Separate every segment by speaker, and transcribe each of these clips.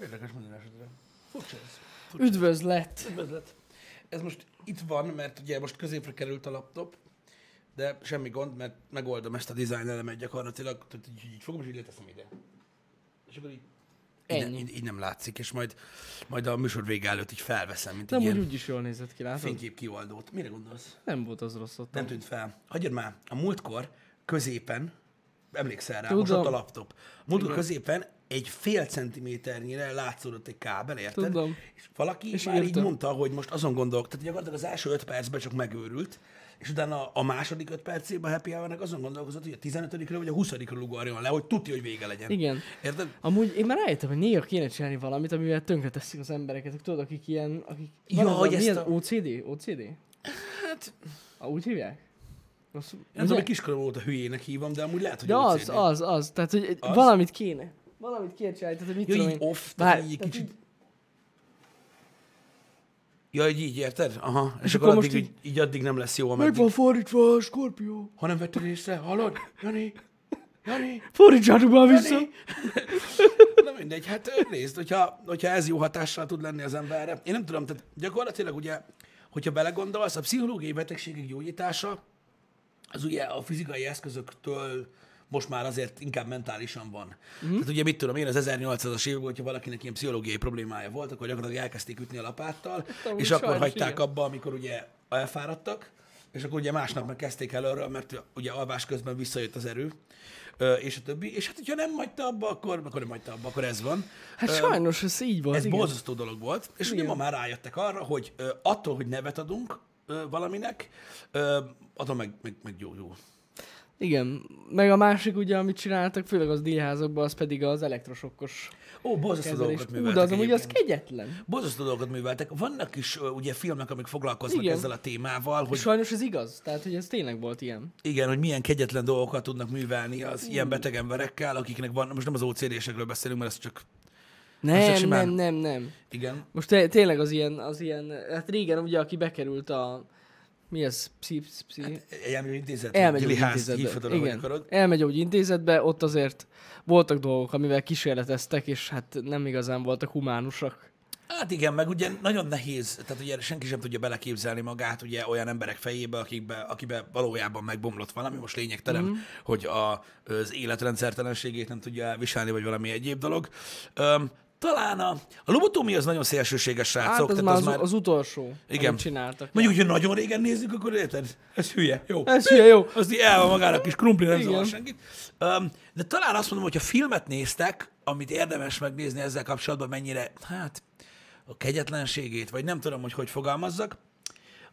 Speaker 1: Érdekes minden esetre. Furcsa ez.
Speaker 2: Üdvözlet!
Speaker 1: Üdvözlet. Ez most itt van, mert ugye most középre került a laptop, de semmi gond, mert megoldom ezt a design elemet gyakorlatilag, tehát így, így fogom, és így leteszem ide. És akkor így így, ne-
Speaker 2: Ennyi.
Speaker 1: így, így nem látszik, és majd, majd a műsor vége előtt így felveszem, mint
Speaker 2: Nem
Speaker 1: egy
Speaker 2: úgy,
Speaker 1: ilyen
Speaker 2: Hát úgy is jól nézett ki, látod?
Speaker 1: fénykép kioldót. Mire gondolsz?
Speaker 2: Nem volt az rossz ott.
Speaker 1: Nem tűnt fel. Hagyjad már, a múltkor középen, emlékszel rá, most
Speaker 2: Tudom.
Speaker 1: ott a laptop. A múltkor középen egy fél centiméternyire látszódott egy kábel, érted?
Speaker 2: Tudom.
Speaker 1: És valaki
Speaker 2: És
Speaker 1: és már
Speaker 2: írta.
Speaker 1: így mondta, hogy most azon gondolok, tehát gyakorlatilag az első öt percben csak megőrült, és utána a második öt percében a happy hour azon gondolkozott, hogy a 15 vagy a 20 ugorjon le, hogy tudja, hogy vége legyen.
Speaker 2: Igen.
Speaker 1: Érted?
Speaker 2: Amúgy én már rájöttem, hogy néha kéne csinálni valamit, amivel tönkre teszik az embereket. Tudod, akik ilyen, akik...
Speaker 1: Ja,
Speaker 2: van ez a-
Speaker 1: hogy ezt
Speaker 2: mi ez?
Speaker 1: a-
Speaker 2: OCD? OCD?
Speaker 1: Hát,
Speaker 2: A, úgy hívják? Rossz,
Speaker 1: nem tudom, hogy kiskorom óta hülyének hívom, de amúgy lehet, hogy
Speaker 2: De az,
Speaker 1: OCD.
Speaker 2: az, az. Tehát, hogy
Speaker 1: Az?
Speaker 2: valamit kéne. Valamit kéne csinálni. Tehát, hogy
Speaker 1: Ja,
Speaker 2: mit tudom
Speaker 1: így
Speaker 2: én.
Speaker 1: off,
Speaker 2: Bár-
Speaker 1: tehát így
Speaker 2: tehát
Speaker 1: kicsit... Ja, így, így érted? Aha. És, akkor,
Speaker 2: akkor
Speaker 1: addig,
Speaker 2: most
Speaker 1: így, így addig nem lesz jó,
Speaker 2: Meg
Speaker 1: ameddig...
Speaker 2: van fordítva a skorpió.
Speaker 1: Ha nem vetted észre, hallod? Jani? Jani?
Speaker 2: Fordítsátok már vissza.
Speaker 1: Jani? Na mindegy, hát ö, nézd, hogyha, hogyha ez jó hatással tud lenni az emberre. Én nem tudom, tehát gyakorlatilag ugye, hogyha belegondolsz, a pszichológiai betegségek gyógyítása az ugye a fizikai eszközöktől most már azért inkább mentálisan van.
Speaker 2: Mhm.
Speaker 1: Mm. Tehát ugye mit tudom én, az 1800-as években, hogyha valakinek ilyen pszichológiai problémája volt, akkor gyakorlatilag elkezdték ütni a lapáttal,
Speaker 2: Hát amúgy
Speaker 1: és akkor
Speaker 2: sajnos
Speaker 1: hagyták
Speaker 2: igen.
Speaker 1: abba, amikor ugye elfáradtak, és akkor ugye másnap meg kezdték előről, mert ugye alvás közben visszajött az erő, ö, és a többi. És hát, hogyha nem hagyta abba, akkor, akkor nem hagyta abba, akkor ez van.
Speaker 2: Hát sajnos ez így volt.
Speaker 1: Ez
Speaker 2: igen.
Speaker 1: borzasztó dolog volt, és ugye ma már rájöttek arra, hogy ö, attól, hogy nevet adunk ö, valaminek, ö, attól meg, meg, meg jó, jó.
Speaker 2: Igen, meg a másik ugye, amit csináltak, főleg az díjházakban, az pedig az elektrosokkos
Speaker 1: Ó, borzasztó
Speaker 2: kezelés.
Speaker 1: dolgokat
Speaker 2: Ú,
Speaker 1: műveltek.
Speaker 2: de az amúgy az
Speaker 1: egyébként.
Speaker 2: kegyetlen.
Speaker 1: Borzasztó dolgokat műveltek. Vannak is ö, ugye filmek, amik foglalkoznak
Speaker 2: Igen.
Speaker 1: ezzel a témával, hogy
Speaker 2: Sajnos ez igaz, tehát hogy ez tényleg volt ilyen.
Speaker 1: Igen, hogy milyen kegyetlen dolgokat tudnak művelni az ilyen
Speaker 2: Hmm.
Speaker 1: beteg emberekkel, akiknek van, most nem az OCD-sekről beszélünk, mert ez csak, csak
Speaker 2: Nem,
Speaker 1: simán-
Speaker 2: nem, nem, nem.
Speaker 1: igen,
Speaker 2: Most te, tényleg az ilyen, az ilyen, hát régen ugye, aki bekerült a, mi ez, pszi, pszi, pszi. Hát,
Speaker 1: elmegy intézet,
Speaker 2: Elmegy úgy
Speaker 1: gyiliház, hívhatod,
Speaker 2: intézetbe.
Speaker 1: ahogy
Speaker 2: Igen.
Speaker 1: akarod.
Speaker 2: Elmegy úgy intézetbe, ott azért voltak dolgok, amivel kísérleteztek, és hát nem igazán voltak humánusak.
Speaker 1: Hát igen, meg ugye nagyon nehéz, tehát ugye senki sem tudja beleképzelni magát ugye olyan emberek fejébe, akikbe, akibe valójában megbomlott valami, most lényegtelen,
Speaker 2: Hmm.
Speaker 1: mm. hogy a, az életrendszertelenségét nem tudja elviselni, vagy valami egyéb dolog. Öm, talán a, a lobotómia az nagyon szélsőséges, srácok.
Speaker 2: Hát az,
Speaker 1: tehát
Speaker 2: már az, az, utolsó,
Speaker 1: Igen.
Speaker 2: amit csináltak.
Speaker 1: Mondjuk, hogyha nagyon régen nézzük, akkor érted? Ez hülye. Jó.
Speaker 2: Ez hülye, jó.
Speaker 1: Az így el van magának kis krumpli, nem
Speaker 2: Igen.
Speaker 1: zavar senkit. Um, de talán azt mondom, hogyha filmet néztek, amit érdemes megnézni ezzel kapcsolatban, mennyire, hát, a kegyetlenségét, vagy nem tudom, hogy hogy fogalmazzak.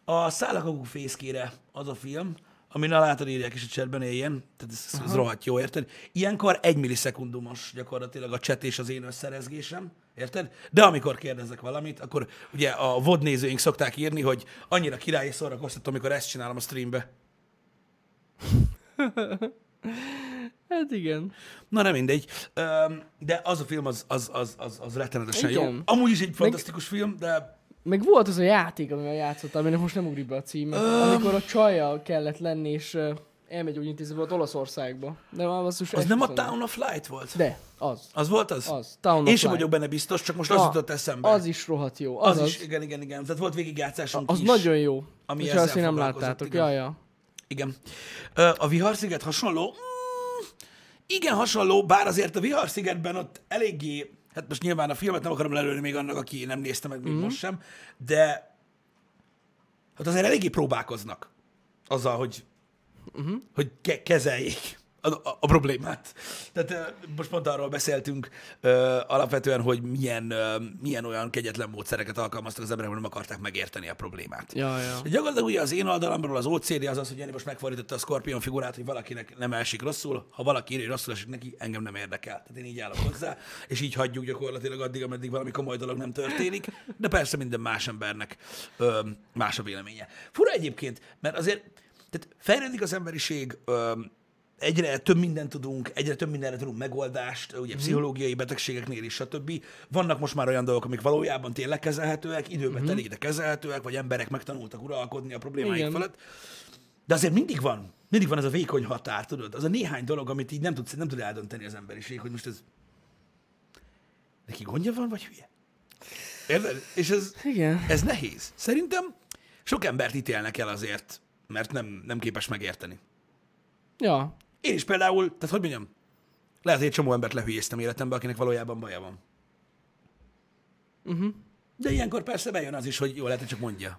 Speaker 1: A Szállakagú fészkére az a film, ami na látod, írják is a csetben éljen, tehát ez, ez- ez rohadt jó, érted? Ilyenkor egy millisekundumos gyakorlatilag a cset és az én összerezgésem, érted? De amikor kérdezek valamit, akkor ugye a VOD nézőink szokták írni, hogy annyira király és szórakoztató, amikor ezt csinálom a streambe.
Speaker 2: Hát igen.
Speaker 1: Na nem mindegy, Öm, de az a film az, az, az, az, az rettenetesen jó.
Speaker 2: Igen.
Speaker 1: Amúgy is egy fantasztikus film, de
Speaker 2: Meg volt az a játék, amivel játszottam, aminek most nem ugrik be a címe. Amikor a csajjal kellett lenni, és ö, elmegy úgy intéző volt Olaszországba. De már basszus,
Speaker 1: az nem a
Speaker 2: esküszöm.
Speaker 1: Town of Light volt?
Speaker 2: De, az.
Speaker 1: Az volt az?
Speaker 2: Az. Town of
Speaker 1: Én sem
Speaker 2: Light.
Speaker 1: vagyok benne biztos, csak most az
Speaker 2: A-
Speaker 1: jutott eszembe.
Speaker 2: Az is rohadt jó.
Speaker 1: Az,
Speaker 2: Az, az,
Speaker 1: is, igen, igen, igen. Tehát volt végigjátszásunk
Speaker 2: az
Speaker 1: is.
Speaker 2: nagyon jó.
Speaker 1: Ami
Speaker 2: Ami
Speaker 1: ezzel
Speaker 2: azt én nem
Speaker 1: foglalkozott,
Speaker 2: láttátok.
Speaker 1: igen.
Speaker 2: Ja, ja.
Speaker 1: Igen. Ö, A Viharsziget hasonló? Mm, igen, hasonló, bár azért a Viharszigetben ott eléggé, hát most nyilván a filmet nem akarom lelőni még annak, aki nem nézte meg
Speaker 2: Mhm.
Speaker 1: még most sem, de hát azért eléggé próbálkoznak azzal, hogy,
Speaker 2: Mhm.
Speaker 1: hogy ke- kezeljék a, a, a problémát. Tehát ö, most pont arról beszéltünk ö, alapvetően, hogy milyen, ö, milyen olyan kegyetlen módszereket alkalmaztak az emberek, hogy nem akarták megérteni a problémát.
Speaker 2: Ja, ja.
Speaker 1: De Gyakorlatilag ugye az én oldalamról az OCD az az, hogy Jani most megfordította a Scorpion figurát, hogy valakinek nem esik rosszul, ha valaki írja, hogy rosszul esik neki, engem nem érdekel. Tehát én így állok hozzá, és így hagyjuk gyakorlatilag addig, ameddig valami komoly dolog nem történik, de persze minden más embernek ö, más a véleménye. Fura egyébként, mert azért tehát fejlődik az emberiség, ö, egyre több mindent tudunk, egyre több mindenre tudunk megoldást, ugye pszichológiai betegségeknél is, stb. Vannak most már olyan dolgok, amik valójában tényleg kezelhetőek, időben telik, de kezelhetőek, vagy emberek megtanultak uralkodni a problémáik
Speaker 2: Igen.
Speaker 1: felett. De azért mindig van, mindig van ez a vékony határ, tudod? Az a néhány dolog, amit így nem, tudsz, nem tud eldönteni az emberiség, hogy most ez neki neki gondja van, vagy hülye? Érted? És ez,
Speaker 2: Igen.
Speaker 1: ez nehéz. Szerintem sok embert ítélnek el azért, mert nem, nem képes megérteni.
Speaker 2: Ja.
Speaker 1: Én is például, tehát hogy mondjam, lehet, hogy egy csomó embert lehülyéztem életemben, akinek valójában baja van. Uh-huh. De ilyenkor persze bejön az is, hogy jó, lehet, hogy csak mondja.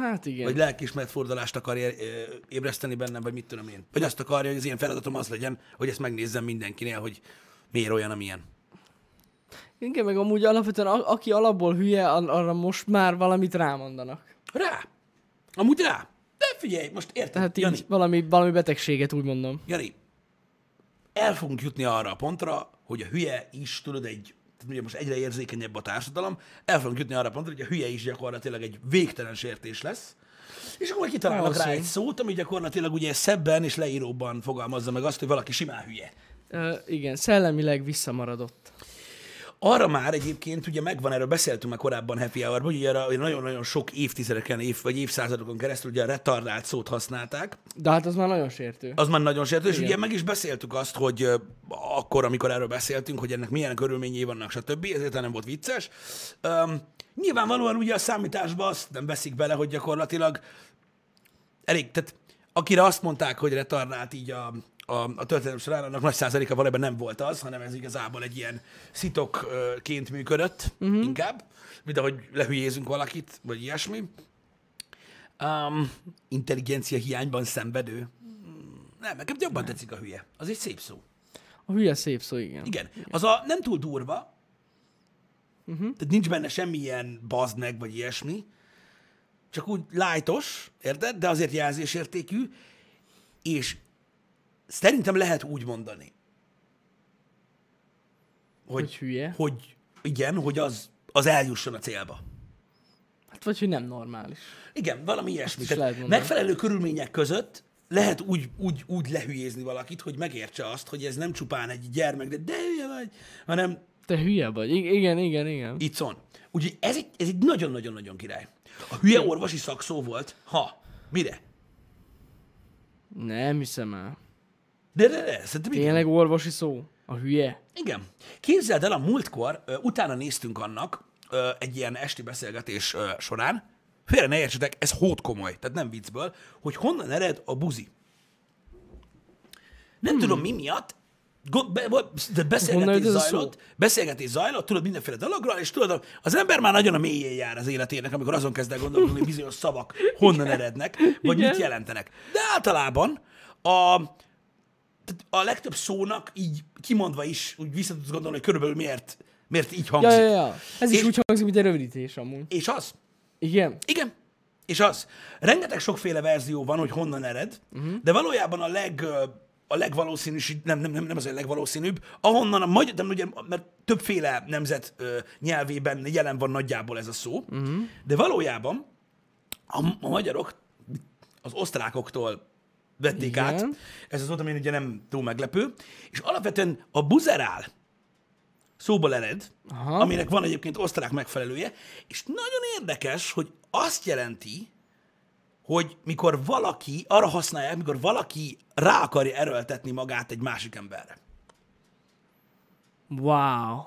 Speaker 2: Hát igen.
Speaker 1: Vagy lelkismert fordulást akar ér- ö, ébreszteni bennem, vagy mit tudom én. Vagy azt akarja, hogy az én feladatom az legyen, hogy ezt megnézzem mindenkinél, hogy miért olyan, amilyen.
Speaker 2: Igen, meg amúgy alapvetően a- aki alapból hülye, ar- arra most már valamit rámondanak.
Speaker 1: Rá! Amúgy rá! De figyelj, most érted,
Speaker 2: Tehát
Speaker 1: Tehát
Speaker 2: így
Speaker 1: Jani,
Speaker 2: valami, valami betegséget úgy mondom.
Speaker 1: Jani, el fogunk jutni arra a pontra, hogy a hülye is, tudod, egy, tehát ugye most egyre érzékenyebb a társadalom, el fogunk jutni arra a pontra, hogy a hülye is gyakorlatilag egy végtelen sértés lesz, és akkor majd kitalálnak rá
Speaker 2: Valószínű.
Speaker 1: egy szót, ami gyakorlatilag ugye szebben és leíróban fogalmazza meg azt, hogy valaki simán hülye.
Speaker 2: Ö, igen, szellemileg visszamaradott.
Speaker 1: Arra már egyébként, ugye megvan, erről beszéltünk már korábban Happy hour hogy ugye arra ugye nagyon-nagyon sok évtizedeken, év, vagy évszázadokon keresztül ugye a retardált szót használták.
Speaker 2: De hát az már nagyon sértő.
Speaker 1: Az már nagyon sértő, és
Speaker 2: Igen.
Speaker 1: ugye meg is beszéltük azt, hogy ö, akkor, amikor erről beszéltünk, hogy ennek milyen körülményei vannak, stb., ezért nem volt vicces. Um, nyilvánvalóan ugye a számításba azt nem veszik bele, hogy gyakorlatilag elég, tehát akire azt mondták, hogy retardált így a, a, a történelem során, annak nagy százaléka valójában nem volt az, hanem ez igazából egy ilyen szitokként működött
Speaker 2: Mhm.
Speaker 1: uh-huh. inkább, mint ahogy lehülyézünk valakit, vagy ilyesmi. Um, intelligencia hiányban szenvedő. Nem, nekem jobban tetszik a hülye. Az egy szép szó.
Speaker 2: A hülye szép szó, igen.
Speaker 1: Igen. Az a nem túl durva, uh-huh. tehát nincs benne semmilyen bazd meg, vagy ilyesmi, csak úgy lájtos, érted? De azért jelzésértékű, és szerintem lehet úgy mondani, hogy,
Speaker 2: Hogy hülye.
Speaker 1: hogy igen, hogy az, az eljusson a célba.
Speaker 2: Hát vagy, hogy nem normális.
Speaker 1: Igen, valami ilyesmi.
Speaker 2: is
Speaker 1: Tehát
Speaker 2: lehet mondani.
Speaker 1: megfelelő körülmények között lehet úgy, úgy, úgy lehülyézni valakit, hogy megértse azt, hogy ez nem csupán egy gyermek, de de hülye vagy, hanem
Speaker 2: Te hülye vagy. I- igen, igen, igen.
Speaker 1: itt van. Úgyhogy ez egy, ez egy nagyon-nagyon-nagyon király. A hülye orvosi szakszó volt. Ha. Mire?
Speaker 2: Nem hiszem el.
Speaker 1: De, de, de, szerintem igen.
Speaker 2: Tényleg orvosi szó? A hülye?
Speaker 1: Igen. Képzeld el, a múltkor ö, utána néztünk annak ö, egy ilyen esti beszélgetés ö, során, félre ne értsetek, ez hót komoly, tehát nem viccből, hogy honnan ered a buzi. Nem hmm. tudom mi miatt, go- be- bo- de
Speaker 2: Honnan
Speaker 1: beszélgetés
Speaker 2: jött ez a
Speaker 1: zajlott, beszélgetés zajlott, tudod mindenféle dologra, és tudod, az ember már nagyon a mélyén jár az életének, amikor azon kezd el gondolkodni, hogy bizonyos szavak honnan erednek, vagy
Speaker 2: Igen.
Speaker 1: mit jelentenek. De általában a, tehát a legtöbb szónak így kimondva is, úgy vissza tudsz gondolni, hogy körülbelül miért, miért így
Speaker 2: Ja,
Speaker 1: hangzik.
Speaker 2: ja, ja. Ez is
Speaker 1: És-
Speaker 2: úgy hangzik, mint egy rövidítés amúgy.
Speaker 1: És az.
Speaker 2: Igen?
Speaker 1: Igen. És az. Rengeteg sokféle verzió van, hogy honnan ered, uh-huh. de valójában a leg ö, a legvalószínűbb, nem, nem, nem, nem az a legvalószínűbb, ahonnan a magyar, de ugye, mert többféle nemzet ö, nyelvében jelen van nagyjából ez a szó, uh-huh. de valójában a, a magyarok az osztrákoktól vették Igen.
Speaker 2: Igen.
Speaker 1: át. Ez az volt, ami ugye nem túl meglepő. És alapvetően a buzerál szóból ered, Aha.
Speaker 2: Aha.
Speaker 1: aminek van egyébként osztrák megfelelője, és nagyon érdekes, hogy azt jelenti, hogy mikor valaki, arra használják, mikor valaki rá akarja erőltetni magát egy másik emberre.
Speaker 2: Wow.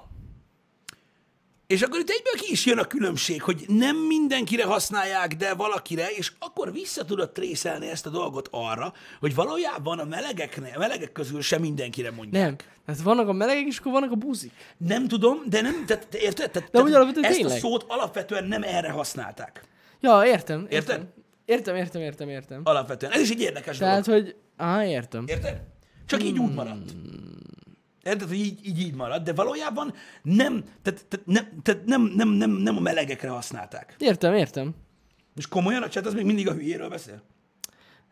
Speaker 1: És akkor itt egyből ki is jön a különbség, hogy nem mindenkire használják, de valakire, és akkor vissza tudod trészelni ezt a dolgot arra, hogy valójában a melegeknek, a melegek közül sem mindenkire mondják.
Speaker 2: Nem. Tehát vannak a melegek, és akkor vannak a buzik.
Speaker 1: Nem, nem tudom, de nem, tehát, te érted? Tehát,
Speaker 2: De
Speaker 1: tehát
Speaker 2: úgy alapvetően
Speaker 1: ezt a
Speaker 2: tényleg.
Speaker 1: szót alapvetően nem erre használták.
Speaker 2: Ja, értem.
Speaker 1: Érted?
Speaker 2: Értem, értem, értem, értem. értem.
Speaker 1: Alapvetően. Ez is egy érdekes dolog.
Speaker 2: Tehát, hogy... Á, értem.
Speaker 1: Érted? Csak így úgy maradt. Érted, hogy így, így, így maradt, de valójában nem, tehát, tehát, nem, tehát nem, nem, nem, nem a melegekre használták.
Speaker 2: Értem, értem.
Speaker 1: És komolyan a chat az még mindig a hülyéről beszél?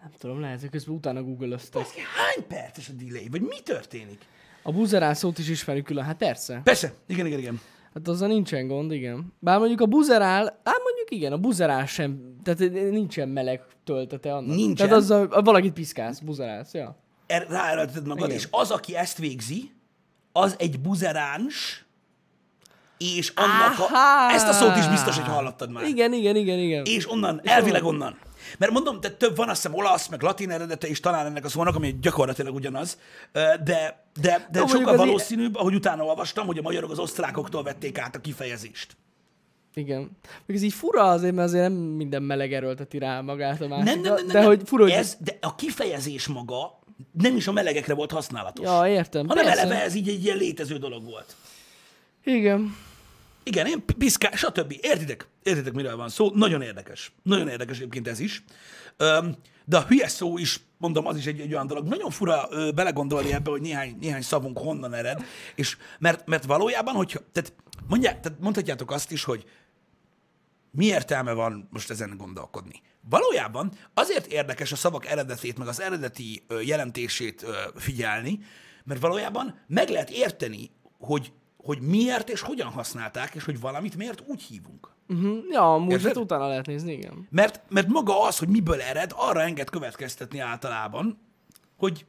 Speaker 2: Nem tudom, lehet, hogy közben utána googlöztek.
Speaker 1: Baszki, hány perces a delay? Vagy mi történik?
Speaker 2: A buzerál szót is ismerjük külön, hát persze.
Speaker 1: Persze, igen, igen, igen.
Speaker 2: Hát azzal nincsen gond, igen. Bár mondjuk a buzerál, hát mondjuk igen, a buzerál sem, tehát nincsen meleg töltete annak.
Speaker 1: Nincsen.
Speaker 2: Tehát azzal a- valakit piszkálsz, buzerálsz, ja.
Speaker 1: Er, ráerőlteted magad,
Speaker 2: Igen.
Speaker 1: és az, aki ezt végzi, az egy buzeráns, és annak a,
Speaker 2: Áhá!
Speaker 1: ezt a szót is biztos, hogy hallottad már.
Speaker 2: Igen, igen, igen, igen.
Speaker 1: És onnan, elvileg onnan. Mert mondom, de több van, azt hiszem, olasz, meg latin eredete is talán ennek a szónak, ami gyakorlatilag ugyanaz, Ö, de, de, de
Speaker 2: mondjuk
Speaker 1: sokkal
Speaker 2: az i-
Speaker 1: valószínűbb, ahogy utána olvastam, hogy a magyarok az osztrákoktól vették át a kifejezést.
Speaker 2: Igen. Még ez így fura azért, mert azért nem minden meleg erőlteti rá magát a másikra.
Speaker 1: Nem, nem, nem, nem,
Speaker 2: de
Speaker 1: nem.
Speaker 2: hogy fura, hogy...
Speaker 1: ez, de a kifejezés maga nem is a melegekre volt használatos.
Speaker 2: Ja, értem.
Speaker 1: hanem
Speaker 2: persze.
Speaker 1: eleve ez így egy ilyen létező dolog volt.
Speaker 2: Igen.
Speaker 1: Igen, én piszkál, stb. Értitek? Értitek, miről van szó? Nagyon érdekes. Nagyon érdekes egyébként ez is. Öm, de a hülye szó is, mondom, az is egy, egy olyan dolog. Nagyon fura ö, belegondolni ebbe, hogy néhány, néhány szavunk honnan ered. És mert, mert valójában, hogyha, tehát, mondják, tehát mondhatjátok azt is, hogy mi értelme van most ezen gondolkodni? Valójában azért érdekes a szavak eredetét, meg az eredeti ö, jelentését ö, figyelni, mert valójában meg lehet érteni, hogy, hogy miért és hogyan használták, és hogy valamit miért úgy hívunk.
Speaker 2: Uh-huh. Ja, amúgy
Speaker 1: Érted?
Speaker 2: hát utána lehet nézni, igen.
Speaker 1: Mert, mert maga az, hogy miből ered, arra enged következtetni általában, hogy,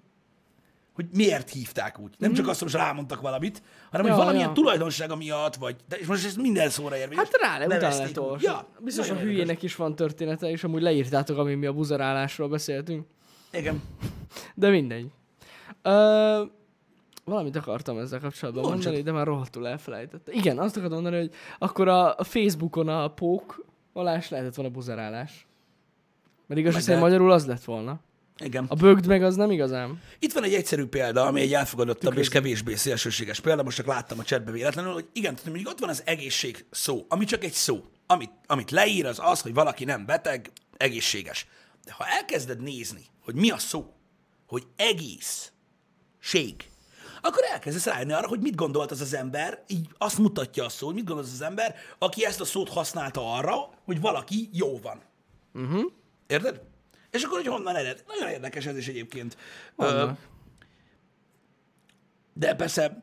Speaker 1: hogy miért hívták úgy. Nem csak azt, hogy most rámondtak valamit, hanem ja,
Speaker 2: Mhm. Ja,
Speaker 1: hogy valamilyen
Speaker 2: ja.
Speaker 1: ja. tulajdonsága miatt vagy. De, és most ez minden szóra érvényes.
Speaker 2: Hát rá, le, utána
Speaker 1: Nevezték
Speaker 2: lehet
Speaker 1: úgy.
Speaker 2: olvasni.
Speaker 1: Ja,
Speaker 2: Biztos a
Speaker 1: nagyon érdekes.
Speaker 2: hülyének is van története, és amúgy leírtátok, amíg mi a buzerálásról beszéltünk.
Speaker 1: Igen.
Speaker 2: De mindegy. Ö, valamit akartam ezzel kapcsolatban
Speaker 1: Mondd
Speaker 2: Mondjuk. mondani, de már rohadtul elfelejtettem. Igen, azt akartam mondani, hogy akkor a a Facebookon a pók alás lehetett volna buzerálás. Mert igaz,
Speaker 1: Meg
Speaker 2: hogy
Speaker 1: lehet.
Speaker 2: magyarul az lett volna.
Speaker 1: Igen.
Speaker 2: A bögd meg az nem igazán.
Speaker 1: Itt van egy egyszerű példa, ami egy elfogadottabb és kevésbé szélsőséges példa, most csak láttam a csetbe véletlenül, hogy igen, tudom, hogy ott van az egészség szó, ami csak egy szó. Amit, amit leír az az, hogy valaki nem beteg, egészséges. De ha elkezded nézni, hogy mi a szó, hogy egész, ség, akkor elkezdesz rájönni arra, hogy mit gondolt az az ember, így azt mutatja a szó, hogy mit gondolt az az ember, aki ezt a szót használta arra, hogy valaki jó van. Érted? És akkor, hogy honnan ered? Nagyon érdekes ez is egyébként. Ö, de persze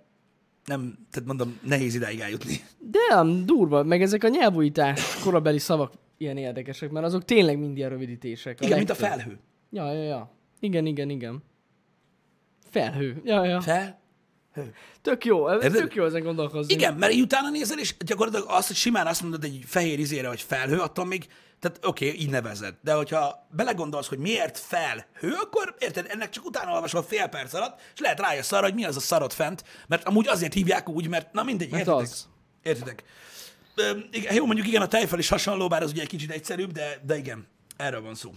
Speaker 1: nem, tehát mondom, nehéz idáig eljutni.
Speaker 2: De nem, durva, meg ezek a nyelvújítás korabeli szavak ilyen érdekesek, mert azok tényleg mind ilyen rövidítések.
Speaker 1: Igen, mint a
Speaker 2: legtöbb.
Speaker 1: felhő.
Speaker 2: Ja, ja, ja. Igen, igen, igen. Felhő. Ja, ja.
Speaker 1: Fel?
Speaker 2: Tök jó, ez
Speaker 1: Érted?
Speaker 2: tök jó ezen gondolkozni.
Speaker 1: Igen, mert így utána nézel, és gyakorlatilag azt, hogy simán azt mondod egy fehér izére, hogy felhő, attól még, tehát oké, okay, így nevezed. De hogyha belegondolsz, hogy miért felhő, akkor érted, ennek csak utána olvasol fél perc alatt, és lehet rájössz arra, hogy mi az a szarod fent, mert amúgy azért hívják úgy, mert na mindegy,
Speaker 2: Mert
Speaker 1: értitek?
Speaker 2: az.
Speaker 1: Értitek? Ö, igen, jó, mondjuk igen, a tejfel is hasonló, bár az ugye egy kicsit egyszerűbb, de, de igen, erről van szó.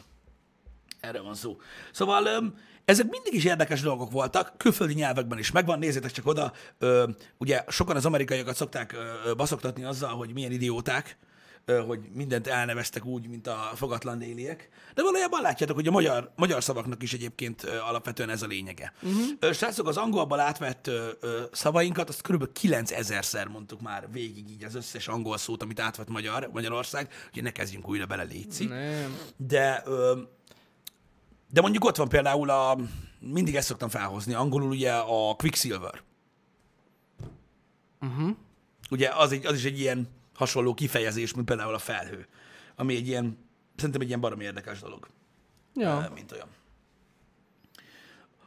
Speaker 1: Erről van szó. Szóval öm, ezek mindig is érdekes dolgok voltak, külföldi nyelvekben is megvan, nézzétek csak oda. Ö, ugye sokan az amerikaiakat szokták ö, ö, baszoktatni azzal, hogy milyen idióták, ö, hogy mindent elneveztek úgy, mint a fogatlan déliek. De valójában látjátok, hogy a magyar, magyar szavaknak is egyébként ö, alapvetően ez a lényege. Uh-huh. Srácok, az angolból átvett ö, ö, szavainkat, azt kb. 9000-szer mondtuk már végig így az összes angol szót, amit átvett Magyar, Magyarország, úgyhogy ne kezdjünk újra bele, létszik.
Speaker 2: Nem.
Speaker 1: De, ö, de mondjuk ott van például a, mindig ezt szoktam felhozni, angolul ugye a Quicksilver. Uh-huh. Ugye az, egy, az is egy ilyen hasonló kifejezés, mint például a felhő, ami egy ilyen, szerintem egy ilyen barom érdekes dolog,
Speaker 2: Ja.
Speaker 1: ö, mint olyan.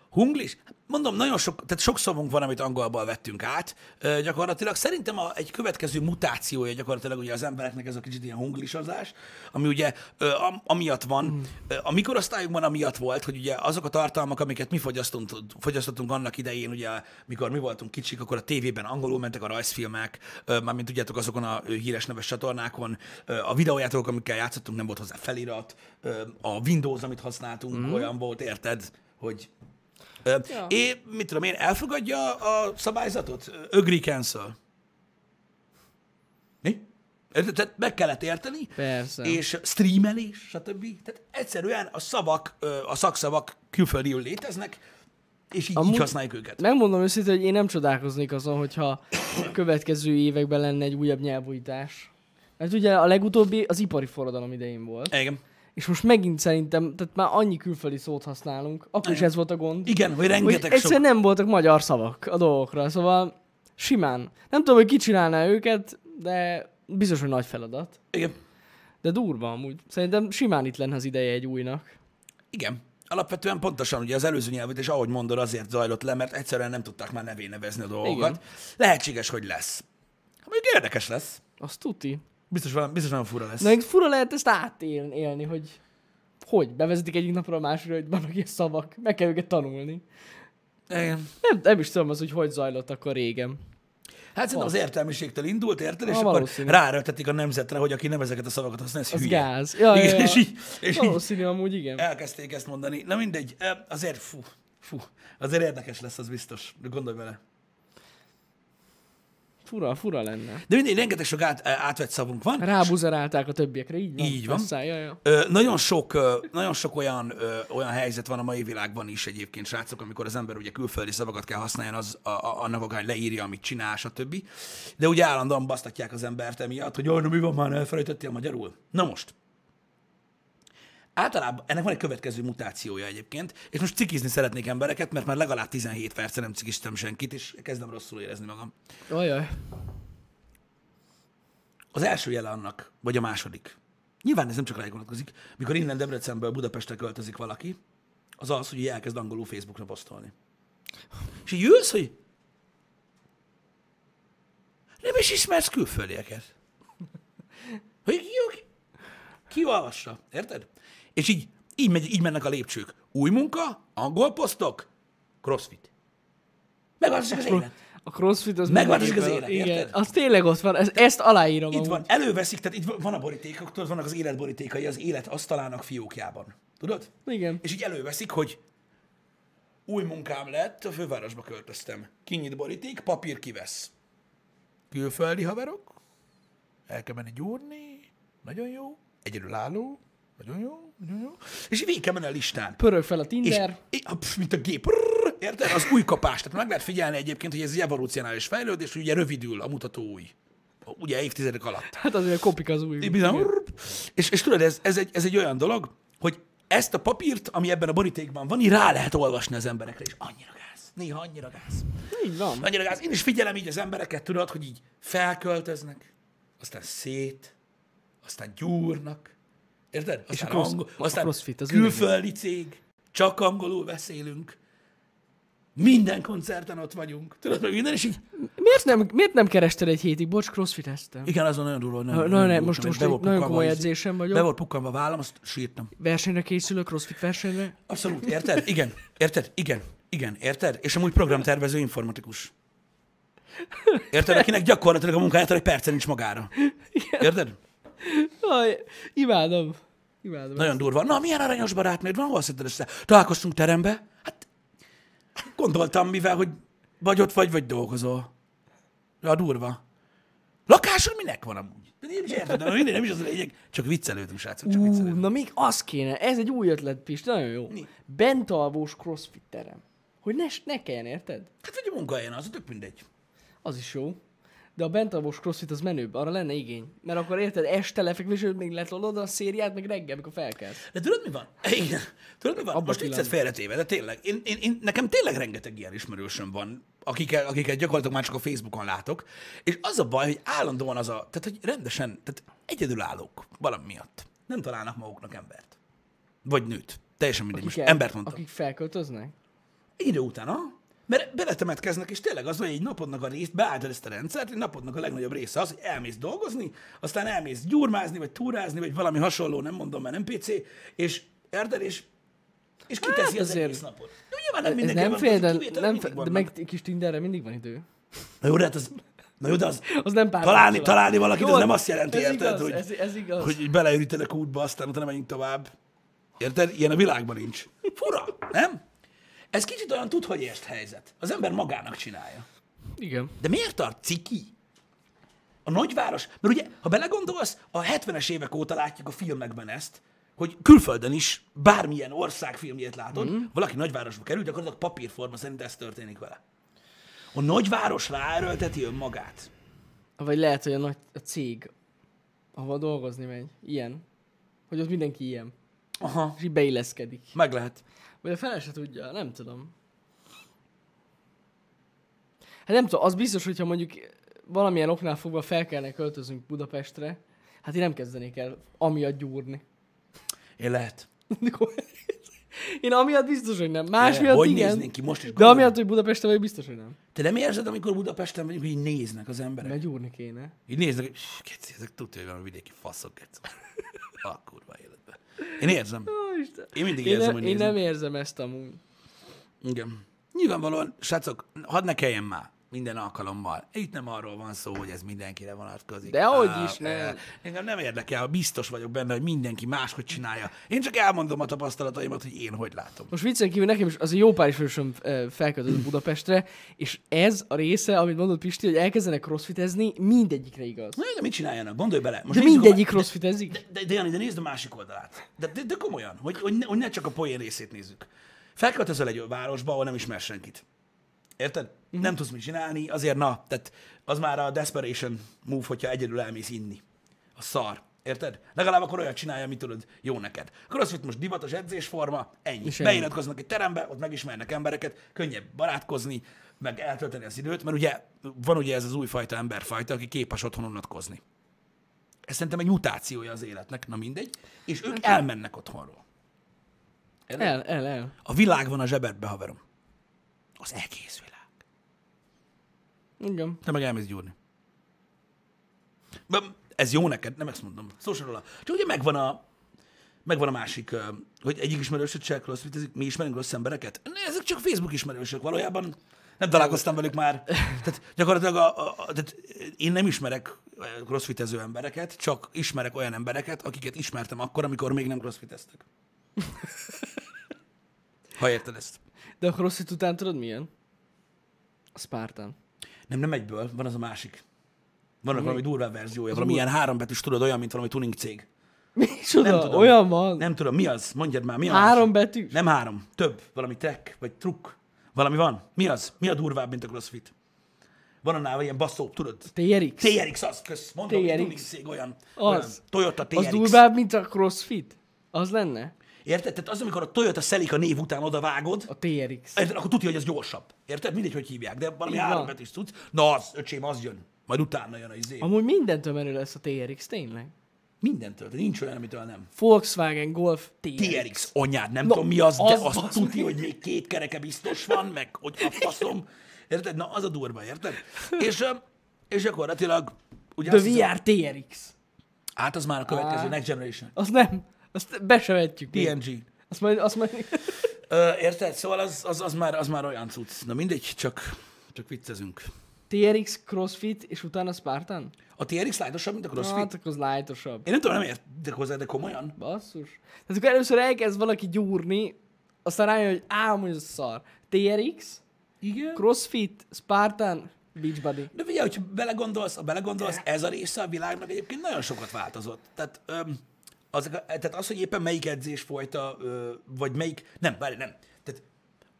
Speaker 1: Hunglis? Mondom, nagyon sok, tehát sok szavunk van, amit angolból vettünk át. Ö, gyakorlatilag szerintem a, egy következő mutációja gyakorlatilag ugye az embereknek ez a kicsit ilyen hunglisozás, ami ugye ö, am, amiatt van, mm. a mikorosztályunkban amiatt volt, hogy ugye azok a tartalmak, amiket mi fogyasztunk, fogyasztottunk annak idején, ugye mikor mi voltunk kicsik, akkor a tévében angolul mentek a rajzfilmek, ö, mármint tudjátok azokon a ö, híres neves csatornákon, ö, a videójátékok, amikkel játszottunk, nem volt hozzá felirat, ö, a Windows, amit használtunk, mm. olyan volt, érted, hogy Ö,
Speaker 2: Ja.
Speaker 1: Én, mit tudom én, elfogadja a szabályzatot? Ö, Agree cancel. Mi? Érted? Tehát meg kellett érteni.
Speaker 2: Persze.
Speaker 1: És streamelés, stb. Tehát egyszerűen a szavak, ö, a szakszavak külföldről léteznek, és így, így
Speaker 2: Amúgy-
Speaker 1: használjuk őket.
Speaker 2: Megmondom őszintén, hogy én nem csodálkoznék azon, hogyha a következő években lenne egy újabb nyelvújítás. Mert ugye a legutóbbi az ipari forradalom idején volt.
Speaker 1: Igen.
Speaker 2: És most megint szerintem, tehát már annyi külföldi szót használunk, akkor is ez volt a gond.
Speaker 1: Igen, hogy
Speaker 2: Hogy
Speaker 1: rengeteg sok...
Speaker 2: egyszerűen nem voltak magyar szavak a dolgokra, szóval simán. Nem tudom, hogy ki csinálná őket, de biztos, hogy nagy feladat.
Speaker 1: Igen.
Speaker 2: De durva amúgy. Szerintem simán itt lenne az ideje egy újnak.
Speaker 1: Igen. Alapvetően pontosan ugye az előző nyelvet, és ahogy mondod, azért zajlott le, mert egyszerűen nem tudták már nevén nevezni a dolgokat.
Speaker 2: Igen.
Speaker 1: Lehetséges, hogy lesz. Ha mondjuk érdekes lesz.
Speaker 2: Azt tuti.
Speaker 1: Biztos, valami, biztos nagyon fura lesz.
Speaker 2: Na, fura lehet ezt átélni, hogy hogy? Bevezetik egyik napra a másikra, hogy vannak ilyen szavak. Meg kell őket tanulni.
Speaker 1: Igen.
Speaker 2: Nem, nem is tudom az, hogy hogy zajlott akkor régen.
Speaker 1: Hát szerintem az értelmiségtől indult, érted? És
Speaker 2: Ha,
Speaker 1: akkor
Speaker 2: valószínű.
Speaker 1: ráerőltetik a nemzetre, hogy aki nem ezeket a szavakat használja, ez
Speaker 2: Az
Speaker 1: hülye.
Speaker 2: gáz. Ja,
Speaker 1: Igen,
Speaker 2: ja, ja.
Speaker 1: és így, és így
Speaker 2: Valószínű amúgy igen.
Speaker 1: elkezdték ezt mondani. Na mindegy, eh, azért fú, fú, azért érdekes lesz, az biztos. Gondolj bele.
Speaker 2: Fura, fura lenne.
Speaker 1: De mindegy, rengeteg sok át, eh, átvett szavunk van.
Speaker 2: Rábuzerálták a többiekre, így van?
Speaker 1: Így van.
Speaker 2: Aztán, ja, ja.
Speaker 1: Ö, nagyon sok, ö, nagyon sok olyan, ö, olyan helyzet van a mai világban is egyébként, srácok, amikor az ember ugye külföldi szavakat kell használni, az a, a, annak okány leírja, amit csinál, stb. De ugye állandóan basztatják az embert emiatt, hogy olyan, mi van már, elfelejtettél magyarul. Na most, Általában ennek van egy következő mutációja egyébként, és most cikizni szeretnék embereket, mert már legalább 17 perce nem cikiztem senkit, és kezdem rosszul érezni magam.
Speaker 2: Ajaj.
Speaker 1: Az első jele annak, vagy a második. Nyilván ez nem csak rájuk vonatkozik. Mikor innen Debrecenből Budapestre költözik valaki, az az, hogy így elkezd angolul Facebookra posztolni. És így ülsz, hogy nem is ismersz külföldieket. Hogy ki, ki, ki olvassa, érted? És így, így, megy, így mennek a lépcsők. Új munka, angol posztok, crossfit. Megváltozik az élet.
Speaker 2: A crossfit az
Speaker 1: Megváltozik
Speaker 2: mindenképpen-
Speaker 1: az élet,
Speaker 2: Igen,
Speaker 1: érted?
Speaker 2: az tényleg ott van, ez, ezt aláírom
Speaker 1: Itt
Speaker 2: amúgy.
Speaker 1: van, előveszik, tehát itt van a borítékok, tudod, vannak az élet borítékai az élet asztalának fiókjában. Tudod?
Speaker 2: Igen.
Speaker 1: És így előveszik, hogy új munkám lett, a fővárosba költöztem. Kinyit boríték, papír kivesz. Külföldi haverok, el kell menni gyúrni, nagyon jó, egyedülálló, nagyon jó, nagyon jó. És így végig kell menni a listán.
Speaker 2: Pörög fel a
Speaker 1: És,
Speaker 2: Tinder.
Speaker 1: í- a- pff, mint a gép. Prrr, Érted? Az új kapás. Tehát meg lehet figyelni egyébként, hogy ez egy evolúcionális fejlődés, hogy ugye rövidül a mutató új. Ugye évtizedek alatt.
Speaker 2: Hát azért kopik az új.
Speaker 1: Bizony.
Speaker 2: Igen.
Speaker 1: Urp. És, és tudod, ez, ez, egy, ez egy olyan dolog, hogy ezt a papírt, ami ebben a borítékban van, így rá lehet olvasni az emberekre, és annyira gáz. Néha annyira gáz.
Speaker 2: Így van.
Speaker 1: Annyira gáz. Én is figyelem így az embereket, tudod, hogy így felköltöznek, aztán szét, aztán gyúrnak, érted? Aztán,
Speaker 2: a crossz-
Speaker 1: angol,
Speaker 2: a
Speaker 1: aztán
Speaker 2: crossfit, az
Speaker 1: külföldi cég, csak angolul beszélünk, minden koncerten ott vagyunk, tudod, meg minden, és így,
Speaker 2: Miért nem, miért nem kerested egy hétig? Bocs, crossfiteztem.
Speaker 1: igen, azon nagyon durva, hogy nem,
Speaker 2: Na,
Speaker 1: nem
Speaker 2: na, ne,
Speaker 1: voltam,
Speaker 2: most,
Speaker 1: és
Speaker 2: most
Speaker 1: be
Speaker 2: egy
Speaker 1: volt
Speaker 2: nagyon
Speaker 1: pukkanva
Speaker 2: komoly
Speaker 1: az-
Speaker 2: edzésem vagyok.
Speaker 1: Be volt pukkanva a vállam, azt sírtam.
Speaker 2: Versenyre készülök, crossfit versenyre.
Speaker 1: Abszolút, érted? Igen, érted? Igen, igen, érted? És amúgy programtervező informatikus. Érted? Akinek gyakorlatilag a munkájától egy perce nincs magára. Érted?
Speaker 2: Aj, imádom. Imádom.
Speaker 1: Nagyon durva. Na, milyen aranyos barátnőd van, hol szedted össze? Találkoztunk terembe? Hát, gondoltam, mivel, hogy vagy ott vagy, vagy dolgozol. Ja, durva. Lakáson minek van amúgy? De nem is érted, de mindegy, nem is az a lényeg. Csak viccelődünk, srácok, csak
Speaker 2: Ú,
Speaker 1: viccelődünk.
Speaker 2: na még az kéne, ez egy új ötlet, Pist, nagyon jó.
Speaker 1: Mi?
Speaker 2: Bentalvós crossfit terem. Hogy ne, ne kelljen, érted?
Speaker 1: Hát vagy a munkahelyen, az tök mindegy.
Speaker 2: Az is jó. De a bentalvós crossfit az menőbb, arra lenne igény. Mert akkor érted, este lefekvés, előtt még letolod a szériát, meg reggel, amikor felkelsz.
Speaker 1: De tudod, mi van? Igen. Tudod, mi van? Abba
Speaker 2: Abba
Speaker 1: Most
Speaker 2: pillanat.
Speaker 1: viccet félretéve, de tényleg. Én, én, én, nekem tényleg rengeteg ilyen ismerősöm van, akiket, akiket gyakorlatilag már csak a Facebookon látok. És az a baj, hogy állandóan az a... Tehát, hogy rendesen, tehát egyedülállók valami miatt. Nem találnak maguknak embert. Vagy nőt. Teljesen mindegy. Most
Speaker 2: Akik el-
Speaker 1: embert mondtam.
Speaker 2: Akik felköltöznek?
Speaker 1: Idő után, ha? Mert beletemetkeznek, és tényleg az, hogy egy napodnak a részt, beálltad ezt a rendszert, egy napodnak a legnagyobb része az, hogy elmész dolgozni, aztán elmész gyurmázni, vagy túrázni, vagy valami hasonló, nem mondom, mert nem PC, és érted, és, és kiteszi
Speaker 2: Hát
Speaker 1: az
Speaker 2: azért-
Speaker 1: egész napot. Jó, nyilván nem
Speaker 2: Ez
Speaker 1: mindenki
Speaker 2: nem
Speaker 1: van,
Speaker 2: fél, de,
Speaker 1: kivételek
Speaker 2: nem
Speaker 1: mindig
Speaker 2: fél, de
Speaker 1: vannak.
Speaker 2: meg egy kis Tinderre mindig van idő.
Speaker 1: Na jó, de hát az... Na jó, de az...
Speaker 2: Az nem pár
Speaker 1: Találni,
Speaker 2: kapcsolat.
Speaker 1: találni valakit,
Speaker 2: Jó,
Speaker 1: az nem azt jelenti,
Speaker 2: ez
Speaker 1: érted,
Speaker 2: igaz,
Speaker 1: hogy,
Speaker 2: ez, ez igaz.
Speaker 1: hogy így beleürítenek útba, aztán utána megyünk tovább. Érted? Ilyen a világban nincs. Fura, nem? Ez kicsit olyan tud, hogy ért helyzet. Az ember magának csinálja.
Speaker 2: Igen.
Speaker 1: De miért tart ciki? A nagyváros? Mert ugye, ha belegondolsz, a 70-es évek óta látjuk a filmekben ezt, hogy külföldön is bármilyen ország filmjét látod, mm. valaki nagyvárosba került, gyakorlatilag papírforma szerint ez történik vele. A nagyváros ráerőlteti önmagát.
Speaker 2: Vagy lehet, hogy a nagy a cég, ahol dolgozni megy, ilyen. Hogy ott mindenki ilyen.
Speaker 1: Aha,
Speaker 2: És így beilleszkedik.
Speaker 1: meg lehet.
Speaker 2: Vagy a fele se tudja, nem tudom. Hát nem tudom, az biztos, hogyha mondjuk valamilyen oknál fogva fel kellene költözünk Budapestre, hát én nem kezdenék el amiatt gyúrni.
Speaker 1: Én lehet.
Speaker 2: Én amiatt biztos, hogy nem. Más
Speaker 1: De
Speaker 2: miatt
Speaker 1: hogy
Speaker 2: igen.
Speaker 1: néznénk ki most is?
Speaker 2: De
Speaker 1: gondolj.
Speaker 2: amiatt, hogy Budapesten vagy, biztos, hogy nem.
Speaker 1: Te nem érzed, amikor Budapesten vagyunk, hogy így néznek az emberek?
Speaker 2: Mert gyúrni kéne.
Speaker 1: Így néznek, hogy keci, ezek tudja, hogy valami vidéki faszok, keci. A kurva életbe. Én érzem.
Speaker 2: Ó, Isten.
Speaker 1: Én mindig
Speaker 2: Én,
Speaker 1: érzem,
Speaker 2: nem,
Speaker 1: hogy
Speaker 2: én
Speaker 1: nézem.
Speaker 2: nem érzem ezt amúgy.
Speaker 1: Igen. Nyilvánvalóan, srácok, hadd ne kelljen már minden alkalommal. Itt nem arról van szó, hogy ez mindenkire vonatkozik.
Speaker 2: Dehogy
Speaker 1: Á,
Speaker 2: is, nem.
Speaker 1: á, Engem nem érdekel, biztos vagyok benne, hogy mindenki máshogy csinálja. Én csak elmondom a tapasztalataimat, hogy én hogy látom.
Speaker 2: Most viccen kívül nekem is az jó pár ismerősöm ö, felköltözött Budapestre, és ez a része, amit mondott Pisti, hogy elkezdenek crossfitezni, mindegyikre igaz.
Speaker 1: Na, de mit csináljanak? Gondolj bele. Most
Speaker 2: De
Speaker 1: nézzük a-
Speaker 2: mindegyik crossfitezik.
Speaker 1: De, de Jani, de nézd a másik oldalát. De, de, de komolyan, hogy, hogy, ne, hogy ne csak a poén részét nézzük. Felköltözöl egy olyan városba, ahol nem ismer senkit. Érted? Mm-hmm. Nem tudsz mit csinálni, azért na, tehát az már a desperation move, hogyha egyedül elmész inni. A szar. Érted? Legalább akkor olyat csinálja, amit tudod, jó neked. Crossfit most divatos edzésforma, ennyi.
Speaker 2: És
Speaker 1: És
Speaker 2: ennyi.
Speaker 1: Beiratkoznak egy terembe, ott megismernek embereket, könnyebb barátkozni, meg eltölteni az időt, mert ugye van ugye ez az újfajta emberfajta, aki képes otthon unatkozni ez szerintem egy mutációja az életnek, na mindegy, és ők elmennek otthonról.
Speaker 2: El, el, el.
Speaker 1: A világ van a zsebedbe, haverom. Az egész világ.
Speaker 2: Igen.
Speaker 1: Te meg elmész gyúrni. Böm, Ez jó neked, nem ezt mondom. Szó sem róla. Csak ugye megvan a, megvan a másik, ö, hogy egyik ismerősöd se crossfitezik, mi ismerünk rossz embereket. Ne, Ezek csak Facebook ismerősök valójában. Nem találkoztam velük már. Tehát gyakorlatilag a, a, a, tehát én nem ismerek ö, crossfitező embereket, csak ismerek olyan embereket, akiket ismertem akkor, amikor még nem crossfiteztek. Ha érted ezt.
Speaker 2: De a crossfit után tudod milyen? A Spartan.
Speaker 1: Nem, nem egyből, van az a másik. Vannak valami durvább verziója, valami
Speaker 2: mi?
Speaker 1: ilyen hárombetűs, tudod, olyan, mint valami tuning cég. Nem
Speaker 2: Micsoda?
Speaker 1: tudom.
Speaker 2: Olyan van?
Speaker 1: Nem tudom, mi az? Mondjad már, mi az?
Speaker 2: Három betű?
Speaker 1: Nem három, több. Valami track, vagy trükk. Valami van. Mi az? Mi a durvább, mint a crossfit? Van annál ilyen baszó, tudod?
Speaker 2: TRX?
Speaker 1: TRX az, kösz, mondom, hogy
Speaker 2: TRX.
Speaker 1: tuning cég olyan.
Speaker 2: Az.
Speaker 1: olyan. Toyota TRX.
Speaker 2: Az durvább, mint a crossfit? Az lenne?
Speaker 1: Érted? Tehát az, amikor a Toyota szelik a név után oda vágod,
Speaker 2: A TRX.
Speaker 1: Érted? Akkor tudja, hogy az gyorsabb. Érted? Mindegy, hogy hívják, de valami
Speaker 2: Így van.
Speaker 1: három betűs tudsz. Na az, öcsém, az jön. Majd utána jön a izé.
Speaker 2: Amúgy mindentől menő lesz a TRX, tényleg.
Speaker 1: Mindentől, de nincs olyan, amitől nem.
Speaker 2: Volkswagen Golf TRX.
Speaker 1: TRX anyád, nem tudom mi az, de
Speaker 2: az
Speaker 1: az azt
Speaker 2: basz
Speaker 1: tudja, hogy még két kereke biztos van, meg hogy a faszom. Érted? Na, az a durva, érted? És, ö, és gyakorlatilag... Ugye
Speaker 2: The
Speaker 1: azt hiszem-
Speaker 2: VR TRX.
Speaker 1: Hát az már a következő,
Speaker 2: Á.
Speaker 1: Next Generation.
Speaker 2: Az nem. Azt be se vetjük. még.
Speaker 1: TNG.
Speaker 2: Azt majd, azt majd...
Speaker 1: Ö, érted? Szóval az, az, az, már, az már olyan cucc. Na mindegy, csak, csak viccezünk.
Speaker 2: TRX, CrossFit, és utána Spartan?
Speaker 1: A TRX lájtosabb, mint a
Speaker 2: CrossFit?
Speaker 1: CrossFit?
Speaker 2: Hát akkor az lightosabb.
Speaker 1: Én nem tudom, nem értek hozzá, de komolyan.
Speaker 2: Basszus. Tehát akkor először elkezd valaki gyúrni, aztán rájön, hogy ám, hogy ez szar. TRX,
Speaker 1: Igen.
Speaker 2: CrossFit, Spartan, Beachbody.
Speaker 1: De figyelj, hogyha belegondolsz, ha belegondolsz, ez a része a világnak egyébként nagyon sokat változott. Tehát, öm, az, tehát az, hogy éppen melyik edzés folyta, ö, vagy melyik... Nem, várj, nem. Tehát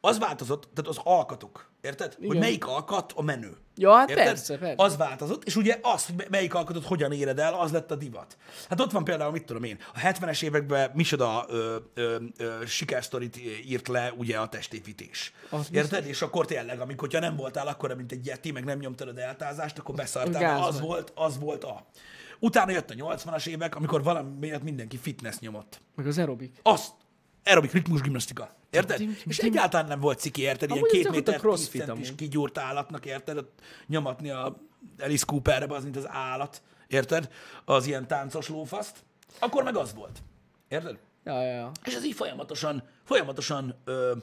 Speaker 1: az változott, tehát az alkatok. Érted? Igen. Hogy
Speaker 2: Igen.
Speaker 1: melyik alkat a menő.
Speaker 2: Ja, hát
Speaker 1: Érted?
Speaker 2: persze, persze.
Speaker 1: Az változott, és ugye az, hogy melyik alkotott hogyan éred el, az lett a divat. Hát ott van például, mit tudom én, a 70-es években micsoda ö, ö, ö, sikersztorit írt le ugye a testépítés.
Speaker 2: Az
Speaker 1: Érted? És akkor tényleg, amikor ha nem voltál akkor, mint egy yeti, meg nem nyomtad a deltázást, akkor beszartál.
Speaker 2: Gáz
Speaker 1: Na, Az
Speaker 2: vagy.
Speaker 1: volt, az volt a. Utána jött a 80-as évek, amikor valami miatt mindenki fitness nyomott.
Speaker 2: Meg az aerobik.
Speaker 1: Azt aerobik ritmus gimnasztika. Érted?
Speaker 2: Tim,
Speaker 1: És
Speaker 2: tim.
Speaker 1: egyáltalán nem volt ciki, érted? Ilyen
Speaker 2: Amúgy ez
Speaker 1: két
Speaker 2: gyakorlatilag
Speaker 1: méter tíz
Speaker 2: crossfit
Speaker 1: centis
Speaker 2: amúgy.
Speaker 1: kigyúrt állatnak, érted? Ott nyomatni a Alice Cooperbe, az mint az állat, érted? Az ilyen táncos lófaszt. Akkor meg az volt. Érted?
Speaker 2: Ja, ja, ja.
Speaker 1: És ez így folyamatosan, folyamatosan ö,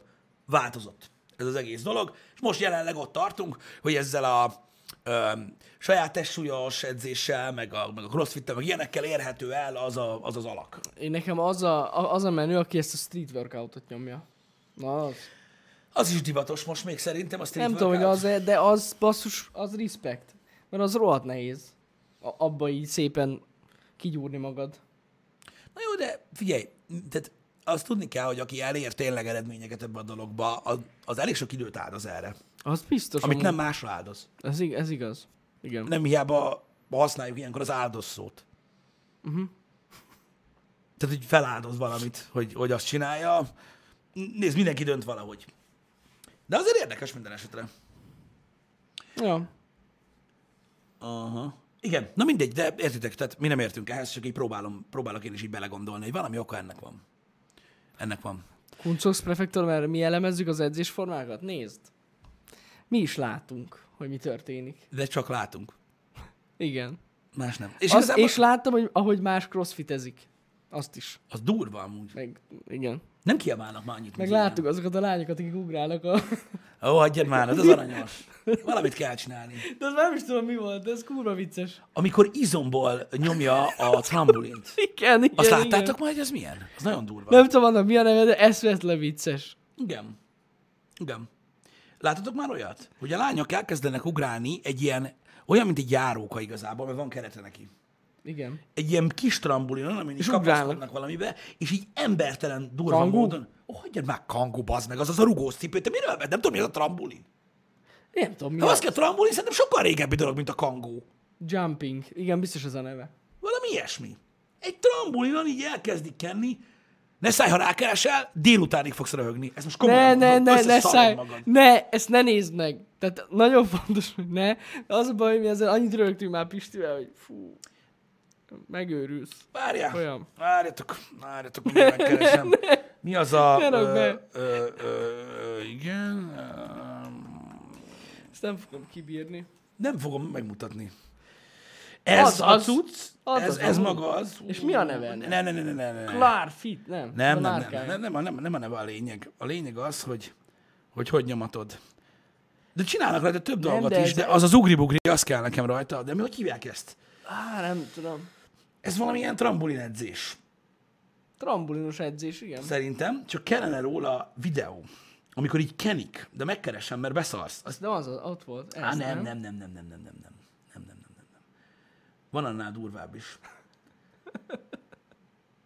Speaker 1: változott ez az egész dolog. És most jelenleg ott tartunk, hogy ezzel a ö, saját testsúlyos edzéssel, meg a, meg a crossfittel, meg ilyenekkel érhető el az a, az, az alak.
Speaker 2: Én nekem az a, a- az a menő, aki ezt a street workoutot nyomja. Na az.
Speaker 1: Az is divatos most még szerintem. Azt
Speaker 2: Nem tudom, hogy az -e, de az basszus, az respect. Mert az rohadt nehéz. A, abba így szépen kigyúrni magad.
Speaker 1: Na jó, de figyelj, tehát azt tudni kell, hogy aki elér tényleg eredményeket ebbe a dologba, az, az elég sok időt áldoz erre,
Speaker 2: Az biztos.
Speaker 1: amit
Speaker 2: amúgy.
Speaker 1: nem másra áldoz.
Speaker 2: Ez, ig- ez igaz. Igen.
Speaker 1: Nem hiába használjuk ilyenkor az áldoz szót. Uh-huh.
Speaker 2: Mhm.
Speaker 1: Tehát, hogy feláldoz valamit, hogy, hogy azt csinálja. Nézd, mindenki dönt valahogy. De azért érdekes minden esetre.
Speaker 2: Ja.
Speaker 1: Aha. Igen, na mindegy, de értitek, tehát mi nem értünk ehhez, csak így próbálom, próbálok én is így belegondolni, hogy valami oka ennek van. Ennek van.
Speaker 2: Kuncox prefektor, mert mi elemezzük az edzésformákat? Nézd. Mi is látunk, hogy mi történik.
Speaker 1: De csak látunk.
Speaker 2: Igen.
Speaker 1: Más nem. És
Speaker 2: És, Azt, és láttam, hogy ahogy más crossfitezik. Azt is.
Speaker 1: Az durva amúgy.
Speaker 2: Meg, igen.
Speaker 1: Nem kiabálnak már annyit.
Speaker 2: Meg
Speaker 1: mint
Speaker 2: láttuk azokat a lányokat, akik ugrálnak a...
Speaker 1: régen. Ó, hagyjad már, ez az aranyos. Valamit kell csinálni.
Speaker 2: De az nem is tudom mi volt, de ez kurva vicces.
Speaker 1: Amikor izomból nyomja a trambulint.
Speaker 2: Igen, igen,
Speaker 1: Azt
Speaker 2: igen.
Speaker 1: láttátok már, hogy ez milyen? Az nagyon durva.
Speaker 2: Nem tudom annak mi a neve, de eszvetlen vicces.
Speaker 1: Igen. Igen. Láttatok már olyat? Hogy a lányok elkezdenek ugrálni egy ilyen, olyan, mint egy járóka igazából, mert van kerete neki.
Speaker 2: Igen.
Speaker 1: Egy ilyen kis trambulinon, amin is
Speaker 2: ugrálnak.
Speaker 1: kapaszkodnak valamibe, és így embertelen durva
Speaker 2: Kangú?
Speaker 1: módon. Ó, hagyjad már kangu, bazd meg, az az a rugós cipő, te miről vedd? Nem tudom, mi az a trambulin.
Speaker 2: Nem tudom mi
Speaker 1: Nem az
Speaker 2: az.
Speaker 1: kell trambulin, szerintem sokkal régebbi dolog, mint a kangó.
Speaker 2: Jumping. Igen, biztos az a neve.
Speaker 1: Valami ilyesmi. Egy trambulinon így elkezdik kenni, ne szállj, ha rákeresel, délutánig fogsz röhögni. Ez most
Speaker 2: Ne,
Speaker 1: komolyan
Speaker 2: ne,
Speaker 1: mondom,
Speaker 2: ne, ne,
Speaker 1: összeszarod
Speaker 2: szállj,
Speaker 1: magad.
Speaker 2: ne, ezt ne nézd meg. Tehát nagyon fontos, hogy ne. Az a baj, hogy mi ezzel annyit rögtünk már Pistivel, hogy fú, megőrülsz.
Speaker 1: Várjál.
Speaker 2: Olyan.
Speaker 1: Várjatok, várjatok, mindjárt megkeresem. Mi az a...
Speaker 2: Ne rakd
Speaker 1: ö,
Speaker 2: be.
Speaker 1: ö, ö, ö, igen. ö,
Speaker 2: Ezt nem fogom kibírni.
Speaker 1: Nem fogom megmutatni. Ez
Speaker 2: Az
Speaker 1: az, a
Speaker 2: az.
Speaker 1: cucc,
Speaker 2: Az
Speaker 1: ez,
Speaker 2: az
Speaker 1: ez
Speaker 2: amúgy.
Speaker 1: maga az.
Speaker 2: És mi a neve ennek?
Speaker 1: Ne, ne, ne, ne, ne, ne. ne.
Speaker 2: Klár fit, nem?
Speaker 1: Nem, nem,
Speaker 2: A
Speaker 1: nem,
Speaker 2: márkája.
Speaker 1: nem, nem, a- nem, nem a neve a lényeg. A lényeg az, hogy hogy, hogy nyomatod. De csinálnak rajta több
Speaker 2: Nem,
Speaker 1: dolgot
Speaker 2: de
Speaker 1: is,
Speaker 2: ez-
Speaker 1: de az az ugribugri, az kell nekem rajta. De mi, hogy hívják ezt?
Speaker 2: Á, nem tudom.
Speaker 1: Ez valamilyen trambulin edzés.
Speaker 2: Trambulinos edzés, igen.
Speaker 1: Szerintem, csak kellene róla videó, amikor így kenik, de megkeresem, mert beszarsz. Az...
Speaker 2: De az, az ott volt. Ez,
Speaker 1: Á, nem, nem, nem, nem, nem, nem, nem, nem, nem, nem, nem, nem, nem, nem. Van annál durvább is.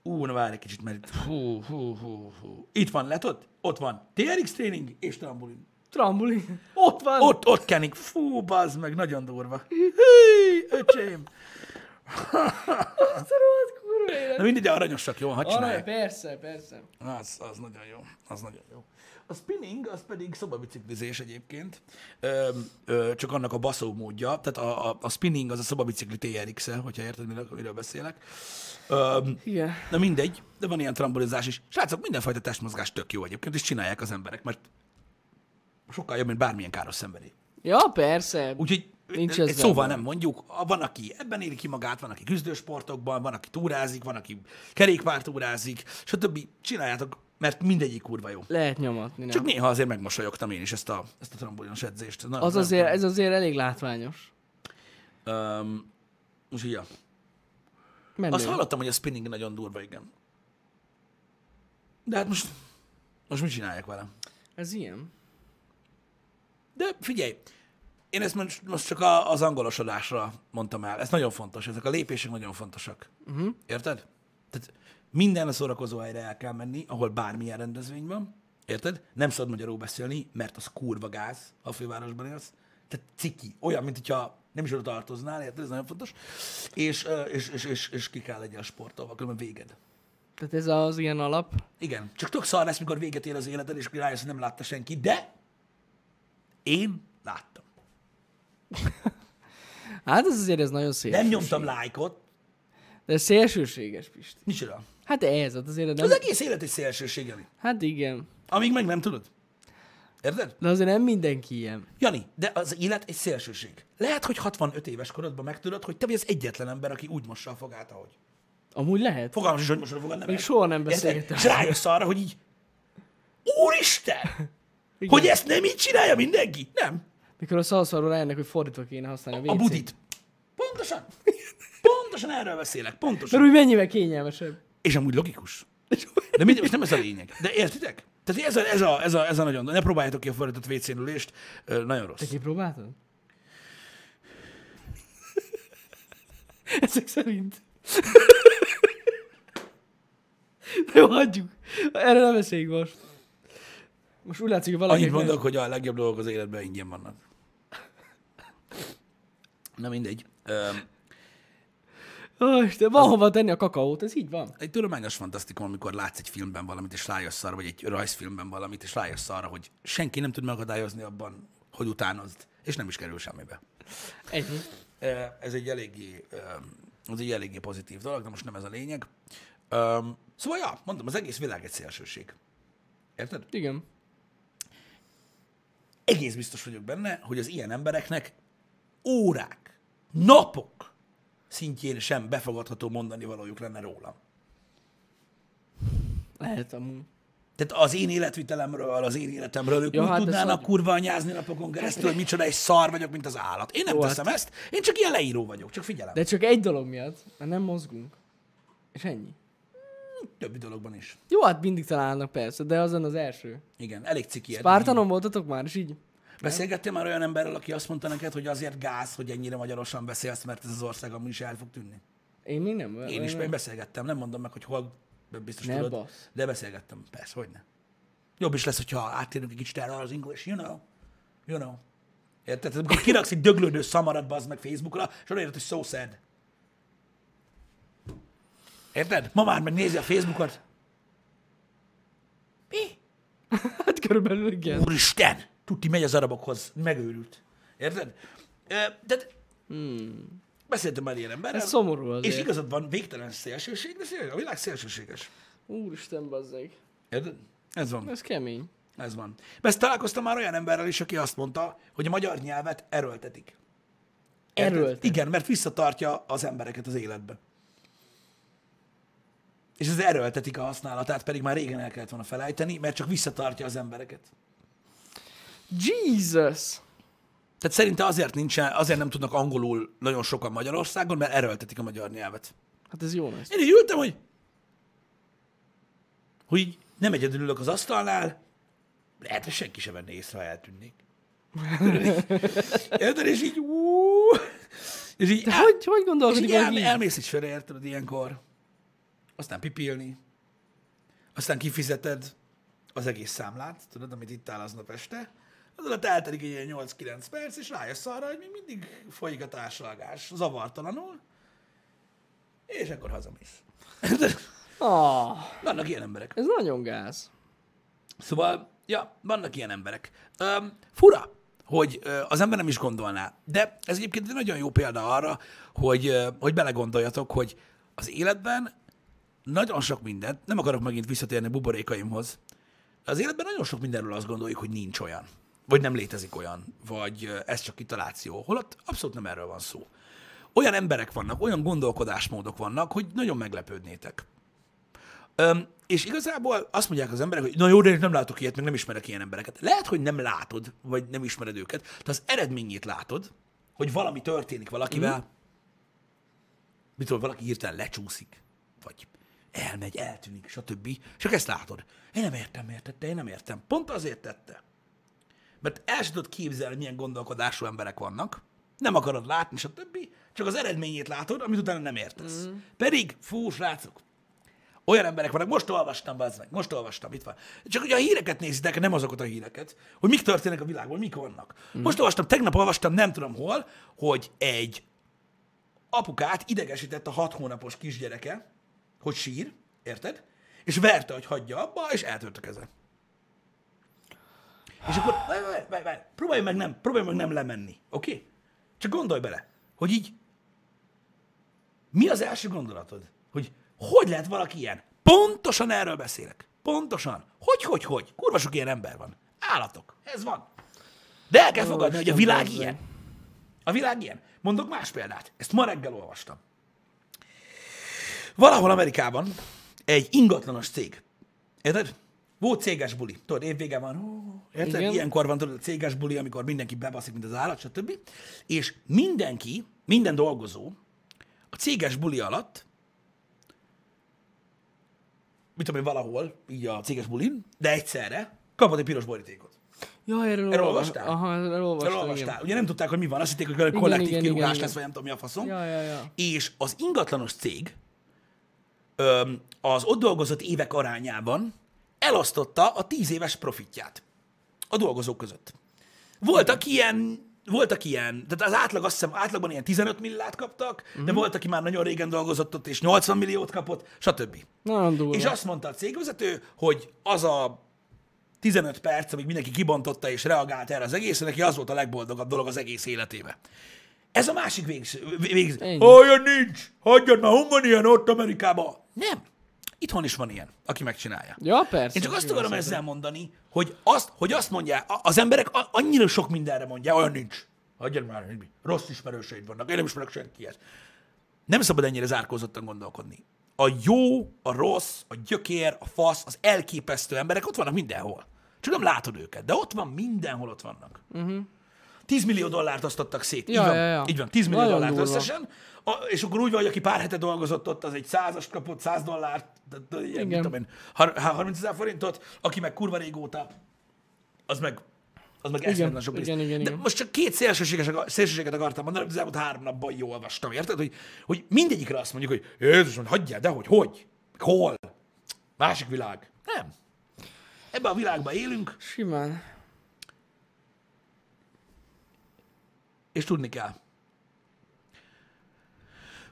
Speaker 1: Ú, na várj egy kicsit, mert itt... Hú, hú, hú, hú. Itt van, látod? Ott van. TRX tréning és trambulin.
Speaker 2: Trambulin.
Speaker 1: Ott
Speaker 2: van.
Speaker 1: Ott, ott kenik. Fú, bazd meg, nagyon durva. Hí, öcsém.
Speaker 2: Azt a rohadt kurva élet.
Speaker 1: Na mindig, de aranyosak, jó, hadd csinálják.
Speaker 2: Arra, persze, persze.
Speaker 1: Az, az nagyon jó, az nagyon jó. A spinning, az pedig szobabiciklizés egyébként, ö, ö, csak annak a baszó módja, tehát a, a, a spinning az a szobabicikli TRX-e, hogyha érted, miről, miről beszélek. Ö,
Speaker 2: Igen.
Speaker 1: na mindegy, de van ilyen trambolizás is. Srácok, mindenfajta testmozgás tök jó egyébként, és csinálják az emberek, mert sokkal jobb, mint bármilyen káros szenvedély.
Speaker 2: Ja, persze.
Speaker 1: Úgyhogy
Speaker 2: Nincs
Speaker 1: Nincs
Speaker 2: ez
Speaker 1: egy szóval
Speaker 2: benne.
Speaker 1: nem mondjuk, A- van, aki ebben éli ki magát, van, aki küzdősportokban, van, aki túrázik, van, aki kerékpártúrázik, stb. Csináljátok, mert mindegyik kurva jó.
Speaker 2: Lehet nyomatni, nem?
Speaker 1: Csak néha azért megmosolyogtam én is ezt a, ezt a trambolinos edzést. Na,
Speaker 2: Az azért, ez azért elég látványos.
Speaker 1: Um, úgyhogy, ja.
Speaker 2: Menő.
Speaker 1: Azt hallottam, hogy a spinning nagyon durva, igen. De hát most, most mit csinálják vele?
Speaker 2: Ez ilyen.
Speaker 1: De figyelj, én ezt most, most csak a, az angolos adásra mondtam el. Ez nagyon fontos, ezek a lépések nagyon fontosak. Uh-huh. Érted? Tehát minden a szórakozó helyre el kell menni, ahol bármilyen rendezvény van. Érted? Nem szabad magyarul beszélni, mert az kurva gáz, ha a fővárosban élsz. Tehát ciki. Olyan, mint hogyha nem is oda tartoznál, érted? Ez nagyon fontos. És, ö, és, és, és, és ki kell legyen a sportolva, különben véged.
Speaker 2: Tehát ez az ilyen alap.
Speaker 1: Igen, csak tök szar lesz, mikor véget ér az életed, és rájössz, hogy nem látta senki, de én láttam.
Speaker 2: Hát ez azért ez nagyon szélsőséges.
Speaker 1: Nem nyomtam lájkot.
Speaker 2: De ez szélsőséges, Pisti.
Speaker 1: Micsoda?
Speaker 2: Hát ez, hát azért nem...
Speaker 1: Az egész élet egy szélsőség, Jani.
Speaker 2: Hát igen.
Speaker 1: Amíg meg nem tudod. Érted?
Speaker 2: De azért nem mindenki ilyen.
Speaker 1: Jani, de az élet egy szélsőség. Lehet, hogy 65 éves korodban megtudod, hogy te vagy az egyetlen ember, aki úgy mossa a fogát, ahogy.
Speaker 2: Amúgy lehet.
Speaker 1: Fogalmas is, hogy mosod a fogát, nem
Speaker 2: Még
Speaker 1: el.
Speaker 2: soha nem
Speaker 1: Érted?
Speaker 2: beszélgettem.
Speaker 1: És rájössz arra, hogy így, úristen,
Speaker 2: Igen.
Speaker 1: hogy ezt nem így csinálja mindenki. Nem.
Speaker 2: Mikor a szalszarról rájönnek, hogy fordítva kéne használni a
Speaker 1: A
Speaker 2: WC-t.
Speaker 1: budit. Pontosan. Pontosan erről beszélek. Pontosan.
Speaker 2: Mert úgy mennyivel kényelmesebb.
Speaker 1: És amúgy logikus. De mind, és nem ez a lényeg. De értitek? Tehát ez a, ez a, ez a, ez a nagyon... Ne próbáljátok ki a fordított wc ülést, ö, nagyon rossz.
Speaker 2: Te kipróbáltad? Ezek szerint. De jó, hagyjuk. Erre nem beszéljünk most. Most úgy látszik, hogy valaki...
Speaker 1: Annyit mondok, hogy a legjobb dolgok az életben ingyen vannak. Na mindegy. Ö,
Speaker 2: Ó, Isten, van hova tenni a kakaót, ez így van.
Speaker 1: Egy tudományos fantasztikum, amikor látsz egy filmben valamit, és rájössz arra, vagy egy rajzfilmben valamit, és rájössz arra, hogy senki nem tud megakadályozni abban, hogy utánozd, és nem is kerül semmibe.
Speaker 2: Ennyi.
Speaker 1: Ö, Ez egy eléggé, ö, ez egy eléggé pozitív dolog, de most nem ez a lényeg. Ö, Szóval, ja, mondom, az egész világ egy szélsőség. Érted?
Speaker 2: Igen.
Speaker 1: Egész biztos vagyok benne, hogy az ilyen embereknek órák, napok szintjén sem befogadható mondani valójuk lenne rólam.
Speaker 2: Lehet amúgy.
Speaker 1: Tehát az én életvitelemről, az én életemről ők
Speaker 2: Ja,
Speaker 1: ja, úgy
Speaker 2: hát
Speaker 1: hát
Speaker 2: ez
Speaker 1: tudnának
Speaker 2: hogy-
Speaker 1: kurva anyázni napokon keresztül, hogy micsoda egy szar vagyok, mint az állat. Én nem
Speaker 2: Jó, hát-
Speaker 1: teszem ezt, én csak ilyen leíró vagyok, csak figyelem. De...
Speaker 2: De csak egy dolog miatt, mert nem mozgunk. És ennyi.
Speaker 1: Többi dologban is.
Speaker 2: Jó, hát mindig találnak persze, de azon az első.
Speaker 1: Igen, elég ciki. eddig.
Speaker 2: Pártanon voltatok már, és így?
Speaker 1: Beszélgettél már olyan emberrel, aki azt mondta neked, hogy azért gáz, hogy ennyire magyarosan beszélsz, mert ez az ország amúgy is el fog tűnni?
Speaker 2: Én még nem.
Speaker 1: Én is, én beszélgettem, nem mondom meg, hogy hol, de biztos
Speaker 2: Ne
Speaker 1: tudod.
Speaker 2: bassz.
Speaker 1: De beszélgettem, persze, hogy ne. Jobb is lesz, hogyha áttérünk egy kicsit erre az English, you know. You know. Érted? Amikor kiraksz egy döglődő szamarat, bazd meg Facebookra, és oda hogy so sad. Érted? Ma már megnézi a Facebookot. Mi?
Speaker 2: Hát körülbelül igen.
Speaker 1: Úristen! Tuti megy az arabokhoz. Megőrült. Érted? Ö, Tehát beszéltem már ilyen emberrel.
Speaker 2: Hmm. Ez szomorú
Speaker 1: És
Speaker 2: azért.
Speaker 1: igazad van, végtelen szélsőség, de szél, a világ szélsőséges.
Speaker 2: Úristen, bazzeg.
Speaker 1: Érted? Ez van,
Speaker 2: Ez kemény.
Speaker 1: ez van. Ezt találkoztam már olyan emberrel is, aki azt mondta, hogy a magyar nyelvet erőltetik. Érted?
Speaker 2: Erőltet.
Speaker 1: Igen, mert visszatartja az embereket az életbe. És ez erőltetik a használatát, pedig már régen el kellett volna felejteni, mert csak visszatartja az embereket.
Speaker 2: Jesus!
Speaker 1: Tehát szerinte azért, nincsen, azért nem tudnak angolul nagyon sokan Magyarországon, mert erőltetik a magyar nyelvet.
Speaker 2: Hát ez jó lesz.
Speaker 1: Én így ültem, hogy, hogy így nem egyedül ülök az asztalnál, lehet, hogy senki sem venne észre, ha eltűnnék. Érted? És így, ú, és így,
Speaker 2: De
Speaker 1: á,
Speaker 2: hogy, hogy
Speaker 1: és
Speaker 2: gondolkodik
Speaker 1: így
Speaker 2: el,
Speaker 1: el,
Speaker 2: így?
Speaker 1: elmész is fölre, érted, ilyenkor. Aztán pipilni, aztán kifizeted az egész számlát, tudod, amit itt áll aznap este, az alatt eltelik egy ilyen 8-9 perc, és rájössz arra, hogy még mindig folyik a társalgás zavartalanul, és akkor hazamész.
Speaker 2: Ah,
Speaker 1: Vannak ilyen emberek.
Speaker 2: ez nagyon gáz.
Speaker 1: Szóval, ja, vannak ilyen emberek. Um, fura, hogy ö, az ember nem is gondolná. De ez egyébként egy nagyon jó példa arra, hogy, ö, hogy belegondoljatok, hogy az életben nagyon sok mindent, nem akarok megint visszatérni buborékaimhoz, az életben nagyon sok mindenről azt gondoljuk, hogy nincs olyan, vagy nem létezik olyan, vagy ö, ez csak kitaláció, holott abszolút nem erről van szó. Olyan emberek vannak, olyan gondolkodásmódok vannak, hogy nagyon meglepődnétek. Öm, és igazából azt mondják az emberek, hogy na jó, de én nem látok ilyet, meg nem ismerek ilyen embereket. Lehet, hogy nem látod, vagy nem ismered őket, de az eredményét látod, hogy valami történik valakivel, mm. mit tudom, valaki hirtelen lecsúszik, vagy elmegy, eltűnik, stb. Csak ezt látod. Én nem értem, miért tette, én nem értem. Pont azért tette. Mert el sem tudod képzelni, milyen gondolkodású emberek vannak, nem akarod látni, stb. Csak az eredményét látod, amit utána nem értesz. Mm. Pedig, fú, srácok, olyan emberek vannak, most olvastam, bazd meg, most olvastam, itt van. Csak ugye a híreket nézitek, nem azokat a híreket, hogy mik történnek a világban, mik vannak. Most olvastam, tegnap olvastam, nem tudom hol, hogy egy apukát idegesített a hat hónapos kisgyereke, hogy sír, érted? És verte, hogy hagyja abba, és eltört a keze. És akkor várj, várj, várj, várj, próbálj meg nem, próbálj meg nem lemenni, oké? Okay? Csak gondolj bele, hogy így mi az első gondolatod? Hogy hogy lehet valaki ilyen? Pontosan erről beszélek. Pontosan. Hogy, hogy, hogy? Kurva sok ilyen ember van. Állatok. Ez van. De el kell fogadni, hogy a
Speaker 2: Isten,
Speaker 1: világ
Speaker 2: bazd meg.
Speaker 1: ilyen. A világ ilyen. Mondok más példát. Ezt ma reggel olvastam. Valahol Amerikában egy ingatlanos cég. Érted? Volt céges buli. Tudod, évvége van. Ó, érted?
Speaker 2: Igen.
Speaker 1: Igen. Ilyenkor van tudod, a céges buli, amikor mindenki bebaszik, mint az állat, stb. És mindenki, minden dolgozó a céges buli alatt mit tudom én, valahol, így a céges bulin, de egyszerre kapott egy piros borítékot.
Speaker 2: Ja, erről
Speaker 1: Erről
Speaker 2: olva-
Speaker 1: olvastál?
Speaker 2: Aha, erről olvastam,
Speaker 1: Elolvastál. Ugye nem tudták, hogy mi van, azt hitték, hogy valami
Speaker 2: Igen,
Speaker 1: kollektív
Speaker 2: igen,
Speaker 1: kirúgás
Speaker 2: igen,
Speaker 1: lesz,
Speaker 2: igen.
Speaker 1: vagy nem tudom mi a faszom.
Speaker 2: Ja, ja, ja.
Speaker 1: És az ingatlanos cég öm, az ott dolgozott évek arányában elosztotta a tíz éves profitját a dolgozók között. Voltak ilyen, voltak ilyen, tehát az átlag, azt hiszem, átlagban ilyen 15 milliárd kaptak, mm-hmm.
Speaker 2: Mhm.
Speaker 1: de volt, aki már nagyon régen dolgozott ott, és 80 milliót kapott, stb.
Speaker 2: Igen. Nagyon durva.
Speaker 1: És azt mondta a cégvezető, hogy az a 15 perc, amíg mindenki kibontotta és reagált erre az egészre, neki az volt a legboldogabb dolog az egész életébe. Ez a másik végző. végző.
Speaker 2: Ennyi.
Speaker 1: Olyan nincs! Hagyjad már, hol van ilyen ott Amerikában? Nem. Itthon is van ilyen, aki megcsinálja.
Speaker 2: Ja, persze.
Speaker 1: Én csak azt
Speaker 2: Igaz,
Speaker 1: akarom
Speaker 2: hát.
Speaker 1: ezzel mondani, hogy azt, hogy azt mondják, a- az emberek a- annyira sok mindenre mondják, olyan nincs. Hagyjad már, hogy mi. rossz ismerőseid vannak, én nem ismerek senkihez. Nem szabad ennyire zárkózottan gondolkodni. A a jó, a rossz, a gyökér, a fasz, az elképesztő emberek ott vannak mindenhol. Csak nem látod őket, de ott van, mindenhol ott vannak. Uh-huh. 10 millió dollárt osztottak szét.
Speaker 2: Mhm. Ja,
Speaker 1: így van,
Speaker 2: ja, ja.
Speaker 1: így van 10 millió
Speaker 2: Nagyon
Speaker 1: dollárt
Speaker 2: durva.
Speaker 1: összesen. A, és akkor úgy van, hogy aki pár hete dolgozott ott, az egy százast kapott, száz dollárt, de, de, ilyen, mit
Speaker 2: Igen.
Speaker 1: tudom én, har- há- 30 ezer forintot, aki meg kurva régóta, az meg az meg eszméletlen sok pénzt.
Speaker 2: igen, igen,
Speaker 1: De
Speaker 2: igen.
Speaker 1: most csak két szélsőséges, szélsőséget akartam mondani, amit az elmúlt három napban jól olvastam, érted? Hogy, hogy mindegyikre azt mondjuk, hogy Jézus, mond, hagyjál, de hogy, hogy, hol, másik világ. Nem. Ebben a világban élünk,
Speaker 2: Simán.
Speaker 1: és tudni kell,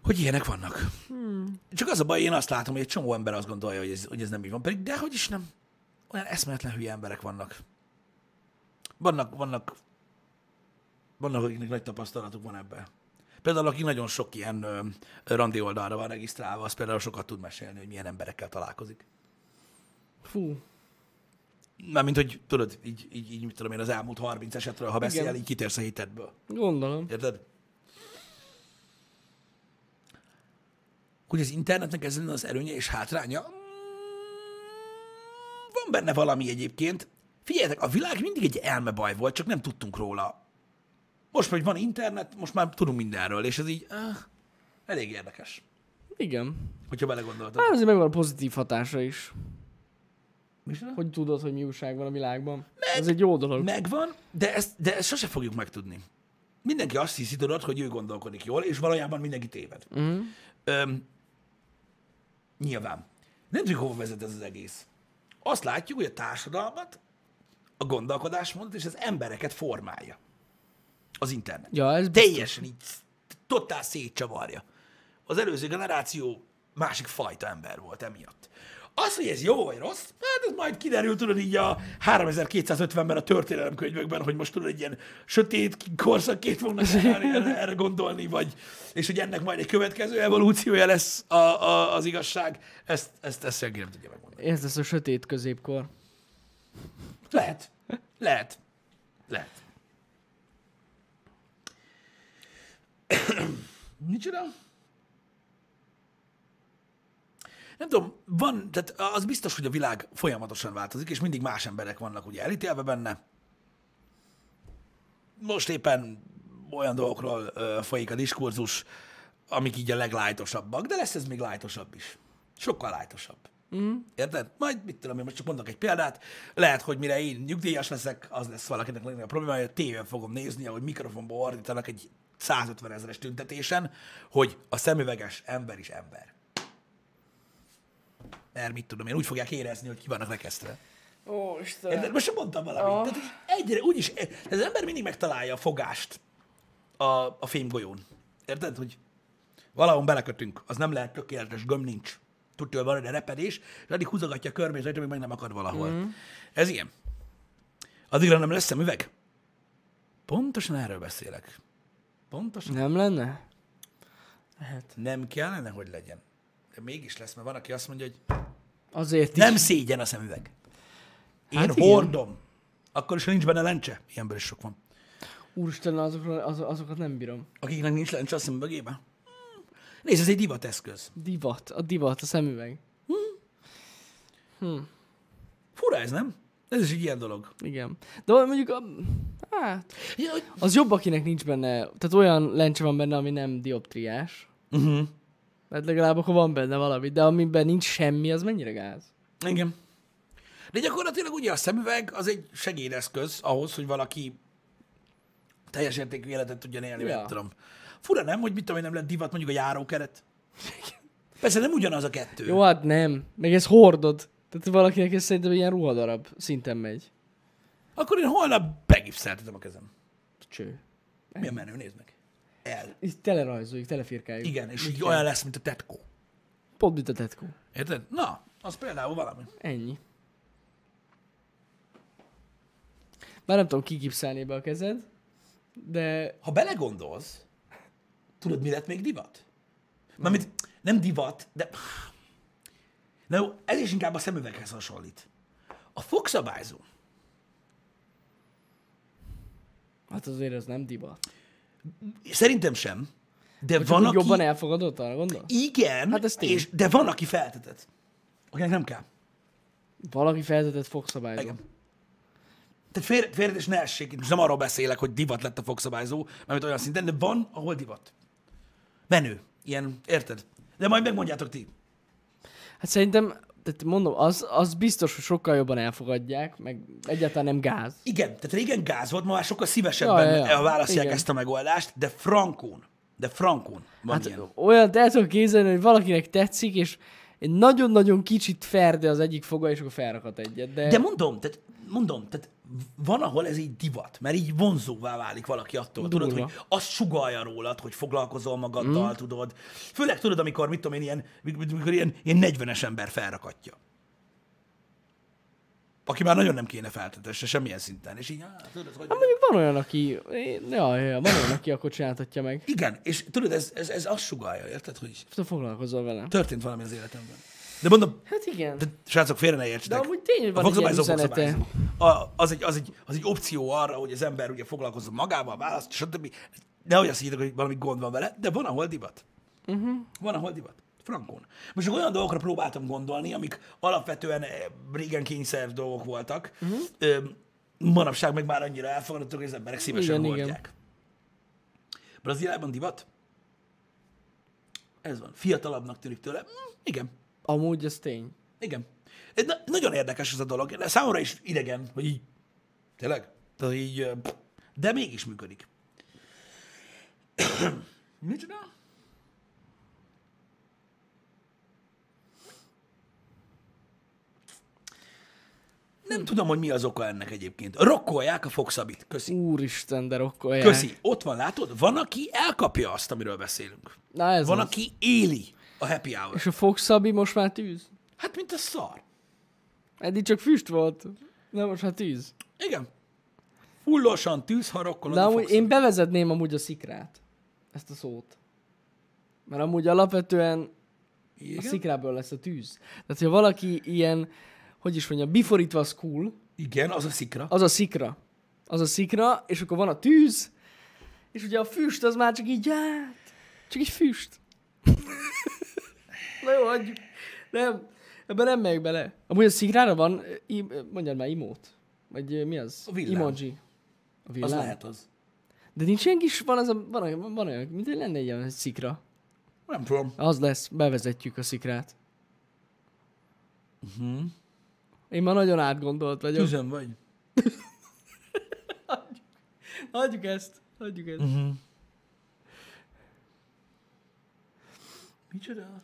Speaker 1: hogy ilyenek vannak. Hmm. Csak az a baj, én azt látom, hogy egy csomó ember azt gondolja, hogy ez, hogy ez nem így van, pedig dehogy is nem. Olyan eszméletlen hülye emberek vannak. Vannak, vannak, vannak, akiknek nagy tapasztalatuk van ebben. Például, aki nagyon sok ilyen ö, randi oldalra van regisztrálva, az például sokat tud mesélni, hogy milyen emberekkel találkozik.
Speaker 2: Fú.
Speaker 1: Mármint, hogy tudod, így, így, így mit tudom én, az elmúlt 30 esetről, ha beszél,
Speaker 2: Igen.
Speaker 1: így kitérsz a hitedből.
Speaker 2: Gondolom.
Speaker 1: Érted? Hogy az internetnek ez lenne az erőnye és hátránya? Mm, Van benne valami egyébként. Figyeljetek, a világ mindig egy elmebaj volt, csak nem tudtunk róla. Most, hogy van internet, most már tudunk mindenről, és ez így ah, elég érdekes,
Speaker 2: Igen.
Speaker 1: hogyha belegondoltad.
Speaker 2: Hát azért megvan a pozitív hatása is.
Speaker 1: Micsoda?
Speaker 2: Hogy tudod, hogy mi újság van a világban. Ez egy jó dolog.
Speaker 1: Megvan, de ezt, de ezt sose fogjuk megtudni. Mindenki azt hiszi, tudod, hogy ő gondolkodik jól, és valójában mindenki téved. Uh-huh. Öm, nyilván. Nem tudjuk, hova vezet ez az egész. Azt látjuk, hogy a társadalmat, a gondolkodásmódot és az embereket formálja. Az internet.
Speaker 2: Ja, ez biztos.
Speaker 1: Teljesen így totál szétcsavarja. Az előző generáció másik fajta ember volt emiatt. Az, hogy ez jó vagy rossz, hát ez majd kiderül, tudod, így a 3250-ben a történelemkönyvekben, hogy most tudod, egy ilyen sötét korszakét fognak erre, erre- erre gondolni, vagy, és hogy ennek majd egy következő evolúciója lesz a, a, az igazság, ezt, ezt, ezt senki nem tudja megmondani.
Speaker 2: Ez lesz a sötét középkor.
Speaker 1: Lehet. Lehet. Lehet. Micsoda? Nem tudom, van, tehát az biztos, hogy a világ folyamatosan változik, és mindig más emberek vannak ugye elítélve benne. Most éppen olyan dolgokról ö, folyik a diskurzus, amik így a leglájtosabbak, de lesz ez még lájtosabb is. Sokkal lájtosabb. Érted? Majd, mit tudom én, most csak mondok egy példát, lehet, hogy mire én nyugdíjas leszek, az lesz valakinek legnagyobb problémája, hogy a tévén fogom nézni, ahogy mikrofonba ordítanak egy 150 ezeres tüntetésen, hogy a szemüveges ember is ember. Mert mit tudom én, úgy fogják érezni, hogy ki vannak rekesztve.
Speaker 2: Ó,
Speaker 1: Érted?
Speaker 2: Istenem.
Speaker 1: Most sem mondtam valamit.
Speaker 2: Ah.
Speaker 1: Tehát így egyre, úgyis, az ember mindig megtalálja a fogást a, a fémgolyón. Érted? Hogy valahol belekötünk, az nem lehet tökéletes, göm nincs. Tudja, hogy van egy repedés, és addig húzogatja a körmét, rajta, még meg nem akad valahol.
Speaker 2: Mhm.
Speaker 1: Mm. Ez ilyen. Addigra nem lesz szemüveg? Pontosan erről beszélek. Pontosan.
Speaker 2: Nem lenne? Lehet.
Speaker 1: Nem kellene, hogy legyen. De mégis lesz, mert van, aki azt mondja, hogy
Speaker 2: Azért Hát is.
Speaker 1: nem szégyen a szemüveg. Én
Speaker 2: Hát
Speaker 1: hát
Speaker 2: igen.
Speaker 1: hordom. Akkor is, ha nincs benne lencse. Ilyenből is sok van.
Speaker 2: Úristen, azokról, az, azokat nem bírom.
Speaker 1: Akiknek nincs lencse a szemüvegében? Hmm. Nézd, ez egy divateszköz.
Speaker 2: Divat, a divat, a szemüveg.
Speaker 1: Fura ez, nem? Ez is egy ilyen dolog.
Speaker 2: Igen. De mondjuk a... Hát,
Speaker 1: Ja, hogy-
Speaker 2: az jobb, akinek nincs benne, tehát olyan lencse van benne, ami nem dioptriás.
Speaker 1: Mhm.
Speaker 2: Mert legalább akkor van benne valami, de amiben nincs semmi, az mennyire gáz?
Speaker 1: Igen. De gyakorlatilag ugye a szemüveg az egy segédeszköz ahhoz, hogy valaki teljes értékű életet tudjon élni,
Speaker 2: Ja.
Speaker 1: ja. tudom. Fura nem, hogy mit tudom én, nem lett divat mondjuk a járókeret? Persze nem ugyanaz a kettő.
Speaker 2: Jó, hát nem. Meg ez hordod. Tehát valakinek ez szerintem ilyen ruhadarab szinten megy.
Speaker 1: Akkor én holnap begipszeltetem a kezem.
Speaker 2: Cső.
Speaker 1: Milyen menő, nézd meg. El.
Speaker 2: Itt tele rajzoljuk, tele firkáljuk.
Speaker 1: Igen, és így olyan lesz, mint a tetkó.
Speaker 2: Pont mint a tetkó.
Speaker 1: Érted? Na, az például valami.
Speaker 2: Ennyi. Már nem tudom kigipszálni be a kezed, de
Speaker 1: ha belegondolsz, tudod, mi lett még divat? Mármint nem divat, de... Na jó, ez is inkább a szemüveghez hasonlít. A fogszabályzó.
Speaker 2: hát azért ez nem divat.
Speaker 1: Szerintem sem. De
Speaker 2: Hogy
Speaker 1: van,
Speaker 2: van
Speaker 1: aki...
Speaker 2: jobban elfogadott, arra gondol?
Speaker 1: Igen,
Speaker 2: Hát ez tény.
Speaker 1: és, de van, aki feltetett. Akinek nem kell.
Speaker 2: Valaki feltetett fogszabályzó.
Speaker 1: Igen. Tehát fél, félretés ne essék, most nem arról beszélek, hogy divat lett a fogszabályzó, mert olyan szinten, de van, ahol divat. Menő. Ilyen, érted? De majd megmondjátok ti.
Speaker 2: Hát szerintem, tehát mondom, az, az biztos, hogy sokkal jobban elfogadják, meg egyáltalán nem gáz.
Speaker 1: Igen, tehát régen gáz volt, ma már sokkal szívesebben ja, ja, ja. választják Igen. ezt a megoldást, de frankón, de frankón van hát,
Speaker 2: Hát
Speaker 1: ilyen.
Speaker 2: olyan, de el tudom képzelni, hogy valakinek tetszik, és egy nagyon-nagyon kicsit ferde az egyik foga, és akkor felrakat egyet. De,
Speaker 1: De mondom, tehát, mondom, tehát van, ahol ez így divat, mert így vonzóvá válik valaki attól, Durva. tudod,
Speaker 2: Durva.
Speaker 1: hogy azt sugalja rólad, hogy foglalkozol magaddal, mm. tudod. Főleg tudod, amikor, mit tudom én, ilyen, mikor ilyen, ilyen 40-es ember felrakatja. Aki már nagyon nem kéne feltetesse semmilyen szinten. És így, ah, tudod, hogy...
Speaker 2: hát mondjuk van olyan, aki... én- Jaj, jaj, van olyan, aki akkor csináltatja meg.
Speaker 1: Igen, és tudod, ez, ez, ez azt sugalja, érted, hogy
Speaker 2: Te foglalkozol vele.
Speaker 1: történt valami az életemben. De mondom,
Speaker 2: Hát igen.
Speaker 1: de srácok, félre ne
Speaker 2: De
Speaker 1: értsetek.
Speaker 2: amúgy tényleg
Speaker 1: A
Speaker 2: van egy ilyen
Speaker 1: fogszabályzó
Speaker 2: üzenete.
Speaker 1: fogszabályzó. A, az, egy, az, egy, az egy opció arra, hogy az ember ugye foglalkozzon magával, választ, stb. Nehogy azt higgyétek, hogy valami gond van vele, de van, ahol divat.
Speaker 2: Mhm.
Speaker 1: Uh-huh. Van, ahol divat. Frankon. Most csak olyan dolgokra próbáltam gondolni, amik alapvetően eh, régen kényszer dolgok voltak.
Speaker 2: Mhm.
Speaker 1: Uh-huh. Manapság meg már annyira elfogadottak, hogy az emberek szívesen
Speaker 2: Igen, igen.
Speaker 1: hordják. Brazíliában divat? Ez van. Fiatalabbnak tűnik tőle? Mm, igen.
Speaker 2: Amúgy ez tény.
Speaker 1: Igen. Ez na- nagyon érdekes ez a dolog. De Számomra is idegen, hogy így... Tényleg? Tehát így... ö, pff, De mégis működik. Micsoda? Nem tudom, hogy mi az oka ennek egyébként. Rokkolják a fogszabit. Köszi.
Speaker 2: Úristen, de rokkolják.
Speaker 1: Köszi. Ott van, látod? Van, aki elkapja azt, amiről beszélünk.
Speaker 2: Na ez
Speaker 1: Van,
Speaker 2: az.
Speaker 1: aki éli a happy hour.
Speaker 2: És a fogszabbi most már tűz.
Speaker 1: Hát, mint a szar.
Speaker 2: Eddig csak füst volt. Na most már tűz.
Speaker 1: Igen. Fullosan tűz, ha rokkolod
Speaker 2: De
Speaker 1: a
Speaker 2: amúgy
Speaker 1: fogszabályt.
Speaker 2: én bevezetném amúgy a szikrát. Ezt a szót. Mert amúgy alapvetően a
Speaker 1: Igen?
Speaker 2: szikrából lesz a tűz. Tehát, ha valaki ilyen, hogy is mondjam, before it was cool,
Speaker 1: Igen, az a szikra.
Speaker 2: az a szikra. Az a szikra, és akkor van a tűz, és ugye a füst az már csak így, hát, csak így füst. Na jó, hagyjuk. Nem, ebben nem megyek bele. Amúgy a szikrára van, ö, im, ö, mondjad már imót. Vagy ö, mi az?
Speaker 1: A villám.
Speaker 2: Emoji. A
Speaker 1: Az
Speaker 2: villám.
Speaker 1: lehet az.
Speaker 2: De nincs ilyen kis, van, az a, van, olyan, van olyan, mint hogy lenne egy ilyen szikra.
Speaker 1: Nem tudom.
Speaker 2: Az lesz, bevezetjük a szikrát. Uh-huh. Én már nagyon átgondolt vagyok.
Speaker 1: Tűzön vagy.
Speaker 2: Hagyjuk ezt, hagyjuk ezt. Uh-huh.
Speaker 1: Micsoda?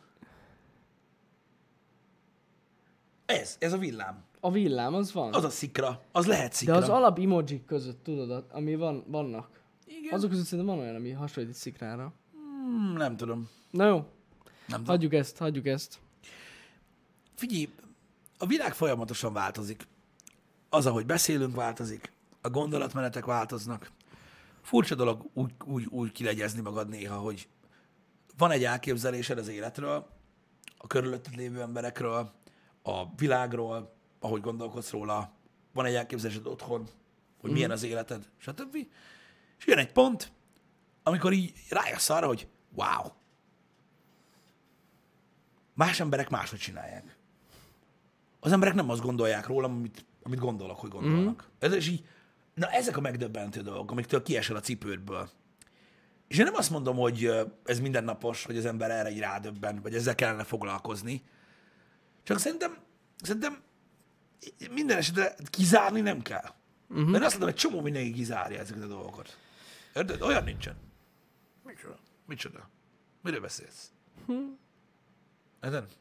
Speaker 1: Ez, ez a villám.
Speaker 2: A villám az van.
Speaker 1: Az a szikra. Az lehet
Speaker 2: De
Speaker 1: szikra.
Speaker 2: az alap emojik között, tudod, a- ami van, vannak.
Speaker 1: Igen.
Speaker 2: Azok között szerintem van olyan, ami hasonlít egy szikrára.
Speaker 1: Hmm, nem tudom.
Speaker 2: Na jó,
Speaker 1: Nem tudom.
Speaker 2: hagyjuk ezt, hagyjuk ezt.
Speaker 1: Figyelj, a világ folyamatosan változik. Az, ahogy beszélünk, változik. A gondolatmenetek változnak. Furcsa dolog úgy, úgy, úgy kilegyezni magad néha, hogy van egy elképzelésed az életről, a körülötted lévő emberekről, a világról, ahogy gondolkodsz róla, van egy elképzelésed otthon, hogy milyen az életed, stb. És jön egy pont, amikor így rájössz arra, hogy wow, más emberek máshogy csinálják. Az emberek nem azt gondolják rólam, amit, amit gondolok, hogy gondolnak. Mm. Ez is így, na ezek a megdöbbentő dolgok, amiktől kiesel a cipődből. És én nem azt mondom, hogy ö, ez mindennapos, hogy az ember erre így rádöbben, vagy ezzel kellene foglalkozni. Csak szerintem, szerintem minden esetre kizárni nem kell. Mm-hmm. Mert azt mondom, egy csomó mindenki kizárja ezeket a dolgokat. Érted? Olyan nincsen. Micsoda? Micsoda? Miről beszélsz? Érted?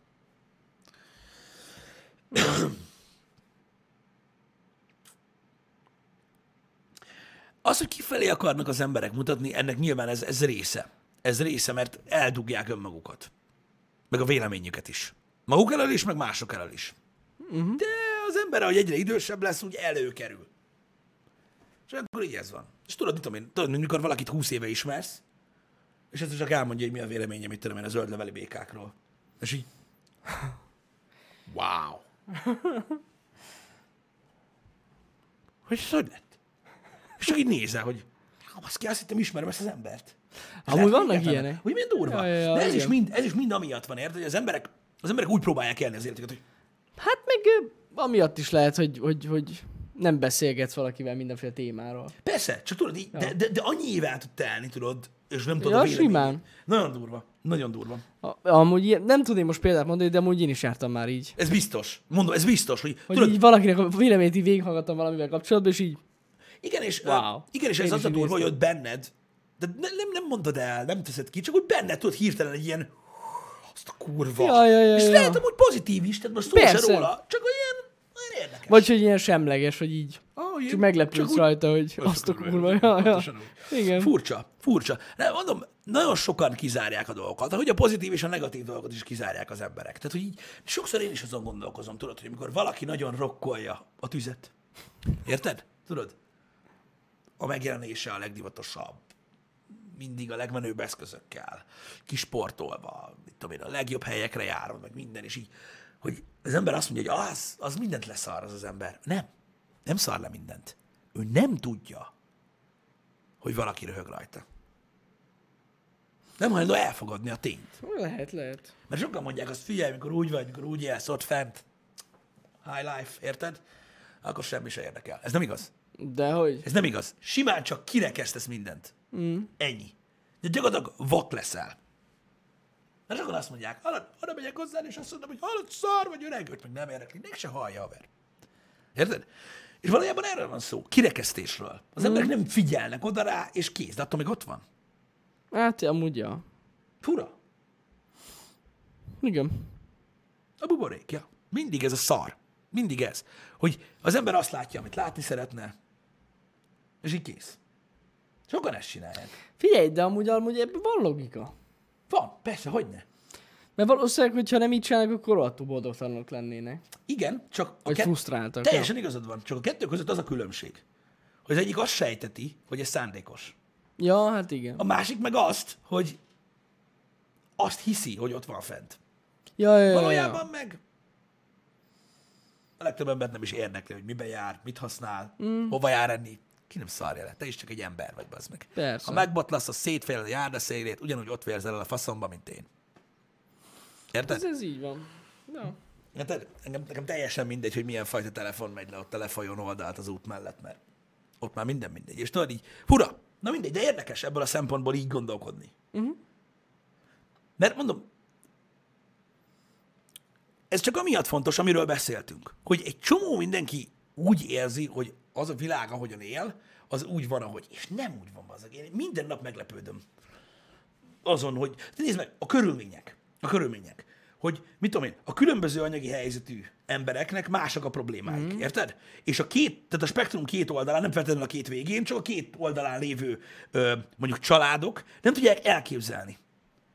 Speaker 1: Az, hogy kifelé akarnak az emberek mutatni, ennek nyilván ez, ez része. Ez része, mert eldugják önmagukat. Meg a véleményüket is. Maguk elől is, meg mások elől is. De az ember, ahogy egyre idősebb lesz, úgy előkerül. És akkor így ez van. És tudod, mit tudom én, tudod, mikor valakit 20 éve ismersz, és ez csak elmondja, hogy mi a véleménye, mit tudom én, a zöld leveli békákról. És így... Wow. Hogy ez hogy lett? És csak így nézel, hogy azt ki, azt hittem ismerem ezt az embert.
Speaker 2: Amúgy
Speaker 1: lehet,
Speaker 2: vannak
Speaker 1: hihetetlen.
Speaker 2: ilyenek.
Speaker 1: Hogy milyen durva.
Speaker 2: Ja, ja, ja,
Speaker 1: De ez is,
Speaker 2: igen.
Speaker 1: mind, ez is mind amiatt van, érted, hogy az emberek, az emberek úgy próbálják élni az életüket, hogy
Speaker 2: Hát meg ö, amiatt is lehet, hogy, hogy, hogy nem beszélgetsz valakivel mindenféle témáról.
Speaker 1: Persze, csak tudod, így, de, de, de annyi év el tud telni, tudod, és nem tudod
Speaker 2: Ja,
Speaker 1: a véleményét.
Speaker 2: simán.
Speaker 1: Nagyon durva, nagyon durva.
Speaker 2: A- Amúgy ilyen, nem tudnék most példát mondani, de amúgy én is jártam már így.
Speaker 1: Ez biztos. Mondom, ez biztos, hogy,
Speaker 2: Hogy
Speaker 1: tudod,
Speaker 2: így valakinek a véleményét így végighallgattam valamivel kapcsolatban, és így
Speaker 1: igen, és,
Speaker 2: Wow.
Speaker 1: igen, és
Speaker 2: Én
Speaker 1: ez
Speaker 2: is
Speaker 1: az a durva, hogy
Speaker 2: idéztem.
Speaker 1: ott benned, de ne, nem, nem mondod el, nem teszed ki, csak úgy benned tudod hirtelen egy ilyen, azt a kurva.
Speaker 2: Ja, ja, ja,
Speaker 1: és
Speaker 2: ja.
Speaker 1: lehet amúgy pozitív is, tehát most szó se
Speaker 2: Persze.
Speaker 1: róla, csak olyan, olyan érdekes.
Speaker 2: Vagy hogy ilyen semleges, hogy így.
Speaker 1: Ah, ilyen-
Speaker 2: Csak meglepődsz
Speaker 1: úgy-
Speaker 2: rajta, hogy azt a kurva. Ja, ja.
Speaker 1: Pontosan úgy.
Speaker 2: Igen.
Speaker 1: Furcsa, furcsa. De mondom, nagyon sokan kizárják a dolgokat, ahogy a pozitív és a negatív dolgokat is kizárják az emberek. Tehát, hogy így, sokszor én is azon gondolkozom, tudod, hogy amikor valaki nagyon rokkolja a tüzet, érted? Tudod? A megjelenése a legdivatosabb, mindig a legmenőbb eszközökkel, kisportolva, mit tudom én, a legjobb helyekre járva, meg minden, és így, hogy az ember azt mondja, hogy az, az mindent leszar az az ember. Nem, nem szar le mindent. Ő nem tudja, hogy valaki röhög rajta. Nem hajlandó elfogadni a tényt.
Speaker 2: Lehet, lehet.
Speaker 1: Mert sokan mondják azt, figyelj, mikor úgy vagy, mikor úgy élsz ott fent, high life, érted? Akkor semmi se érdekel. Ez nem igaz.
Speaker 2: De hogy?
Speaker 1: Ez nem igaz. Simán csak kirekesztesz mindent. Mm. Ennyi. De gyakorlatilag vak leszel. Mert sokan azt mondják, hallod, oda megyek hozzá, és azt mondom, hogy hallod, szar vagy öreg, őt meg nem érdekli, meg se hallja haver. Érted? És valójában erről van szó, kirekesztésről. Az emberek nem figyelnek oda rá, és kész, de attól még ott van.
Speaker 2: Hát amúgy ja.
Speaker 1: Fura.
Speaker 2: Igen.
Speaker 1: A buborékja. Mindig ez a szar. Mindig ez. Hogy az ember azt látja, amit látni szeretne, és így kész. Sokan ezt csinálják.
Speaker 2: Figyelj, de amúgy, amúgy ebben van logika.
Speaker 1: Van, persze, hogy ne.
Speaker 2: Mert valószínűleg, hogyha nem így csinálnak, akkor rohadtul boldogtalanok lennének.
Speaker 1: Igen, csak a
Speaker 2: Vagy
Speaker 1: kett-
Speaker 2: frusztráltak.
Speaker 1: Teljesen igazad van, csak a kettő között az a különbség, hogy az egyik azt sejteti, hogy ez szándékos.
Speaker 2: Ja, Ja, hát igen.
Speaker 1: A másik meg azt, hogy azt hiszi, hogy ott van fent.
Speaker 2: Ja, ja, ja, ja.
Speaker 1: Valójában meg a legtöbb embert nem is érdekli, hogy mibe jár, mit használ, mm. hova jár enni. Ki nem szarja le, te is csak egy ember vagy, bazd meg.
Speaker 2: Persze.
Speaker 1: Ha megbotlasz, a szétfél a járdaszélét, ugyanúgy ott vérzel el a faszomba, mint én. Érted?
Speaker 2: Ez, ez így van. Ja.
Speaker 1: Érted? Engem, nekem teljesen mindegy, hogy milyen fajta telefon megy le ott a lefajon oldalt az út mellett, mert ott már minden mindegy. És tudod így, hura, na mindegy, de érdekes ebből a szempontból így gondolkodni. Uh-huh. Mert mondom, ez csak amiatt fontos, amiről beszéltünk, hogy egy csomó mindenki úgy érzi, hogy az a világ, ahogyan él, az úgy van, ahogy. És nem úgy van az. Én minden nap meglepődöm azon, hogy de nézd meg, a körülmények, a körülmények, hogy mit tudom én, a különböző anyagi helyzetű embereknek másak a problémáik, mm. érted? És a két, tehát a spektrum két oldalán, nem feltétlenül a két végén, csak a két oldalán lévő ö, mondjuk családok nem tudják elképzelni,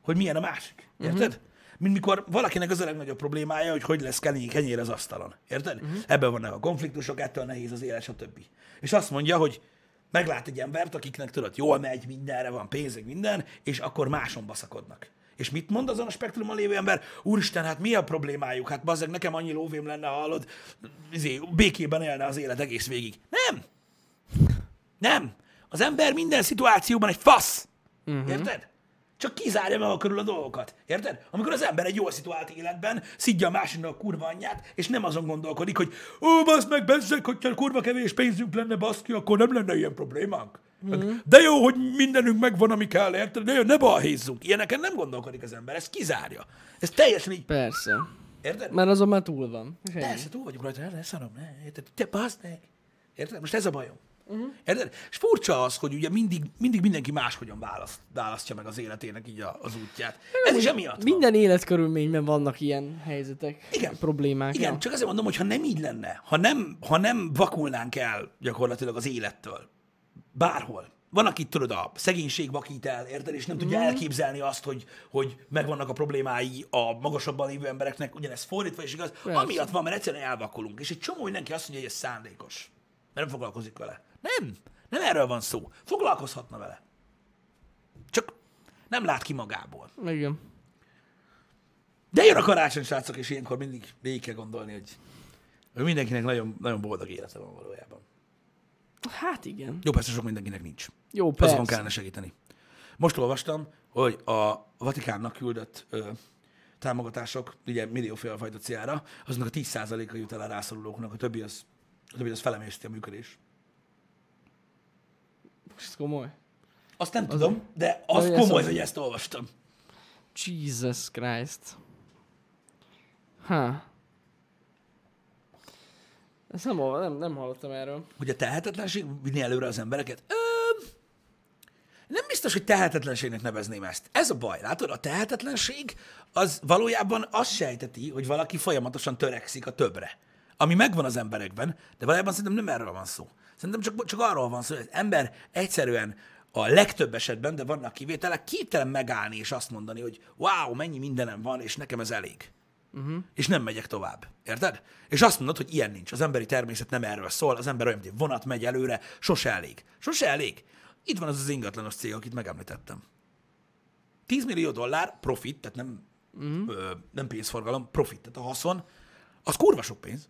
Speaker 1: hogy milyen a másik, érted? Mint mikor valakinek az a legnagyobb problémája, hogy hogy lesz kenyér, kenyér az asztalon, érted? Ebben vannak a konfliktusok, ettől nehéz az élet, stb. És azt mondja, hogy meglát egy embert, akiknek tudod, jól megy, mindenre van pénzük, minden, és akkor máson baszakodnak. És mit mond azon a spektrumon lévő ember? Úristen, hát mi a problémájuk? Hát bazzeg, nekem annyi lóvém lenne, ha hallod, izé, békében élne az élet egész végig. Nem! Nem! Az ember minden szituációban egy fasz. Uh-huh. Érted? Csak kizárja maga körül a dolgokat. Érted? Amikor az ember egy jól szituált életben szidja a másiknak a kurva anyját, és nem azon gondolkodik, hogy ó, basz meg, bezzeg, hogyha kurva kevés pénzünk lenne, basz ki, akkor nem lenne ilyen problémánk. Mm-hmm. De jó, hogy mindenünk megvan, ami kell, érted? Ne, ne balhézzunk. Ilyeneken nem gondolkodik az ember, ez kizárja. Ez teljesen így,
Speaker 2: Persze.
Speaker 1: érted?
Speaker 2: Mert azon már túl van. És ennyi.
Speaker 1: Persze, túl vagyunk rajta, ne, ne szarom, ne, érted? Te baszd meg! Érted? Most ez a bajom. Uh-huh. Érted? És furcsa az, hogy ugye mindig, mindig mindenki máshogyan választ, választja meg az életének így a, az útját. Ez is emiatt van.
Speaker 2: Hát Minden életkörülményben vannak ilyen helyzetek,
Speaker 1: Igen.
Speaker 2: problémák.
Speaker 1: Igen,
Speaker 2: ja.
Speaker 1: csak azért mondom, hogy ha nem így lenne, ha nem, ha nem vakulnánk el gyakorlatilag az élettől, bárhol, van, akit tudod, a szegénység vakít el, érted, és nem tudja elképzelni azt, hogy, hogy megvannak a problémái a magasabban lévő embereknek, ugyanez fordítva is igaz,
Speaker 2: Persze.
Speaker 1: amiatt van, mert egyszerűen elvakulunk, és egy csomó mindenki azt mondja, hogy ez szándékos, mert nem foglalkozik vele. Nem, nem erről van szó. Foglalkozhatna vele. Csak nem lát ki magából.
Speaker 2: Igen.
Speaker 1: De jön a karácsony, srácok, és ilyenkor mindig végig kell gondolni, hogy, hogy mindenkinek nagyon, nagyon boldog élete van valójában.
Speaker 2: Hát igen.
Speaker 1: Jó, persze sok mindenkinek nincs.
Speaker 2: Jó,
Speaker 1: Azokon
Speaker 2: persze.
Speaker 1: kellene segíteni. Most olvastam, hogy a Vatikánnak küldött ö, támogatások, ugye millióféle fajta célra, aznak a 10%-a jut el a rászorulóknak, a többi az, a többi az felemészti a működés.
Speaker 2: Ez komoly.
Speaker 1: Azt nem tudom, de az
Speaker 2: hogy ezt
Speaker 1: komoly,
Speaker 2: az-
Speaker 1: hogy ezt olvastam.
Speaker 2: Jesus Christ. Ha. Ezt nem, hall- nem, nem hallottam erről.
Speaker 1: Hogy a tehetetlenség vinni előre az embereket? Ö, nem biztos, hogy tehetetlenségnek nevezném ezt. Ez a baj, látod? A tehetetlenség az valójában azt sejteti, hogy valaki folyamatosan törekszik a többre. Ami megvan az emberekben, de valójában szerintem nem erről van szó. Szerintem csak, csak arról van szó, hogy az ember egyszerűen a legtöbb esetben, de vannak kivételek, képtelen megállni és azt mondani, hogy wow, mennyi mindenem van, és nekem ez elég és nem megyek tovább. Érted? És azt mondod, hogy ilyen nincs. Az emberi természet nem erről szól, az ember olyan, mint egy vonat megy előre, sose elég. Sose elég. Itt van az az ingatlanos cég, akit megemlítettem. 10 millió dollár profit, tehát nem, mm. ö, nem pénzforgalom, profit, tehát a haszon, az kurva sok pénz.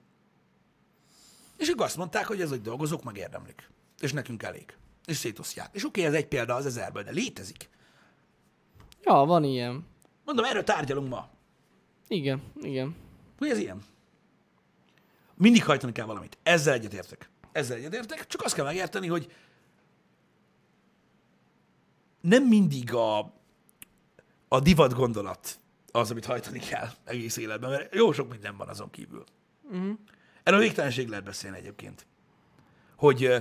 Speaker 1: És ők azt mondták, hogy ezek dolgozók megérdemlik. És nekünk elég. És szétosztják. És oké, okay, ez egy példa az ezerből, de létezik.
Speaker 2: Ja, van ilyen.
Speaker 1: Mondom, erről tárgyalunk ma.
Speaker 2: Igen, igen.
Speaker 1: Hogy ez ilyen? Mindig hajtani kell valamit. Ezzel egyetértek. Ezzel egyetértek, csak azt kell megérteni, hogy nem mindig a, a divat gondolat az, amit hajtani kell egész életben, mert jó sok minden van azon kívül. Uh-huh. Erről végtelenség lehet beszélni egyébként. Hogy, ö,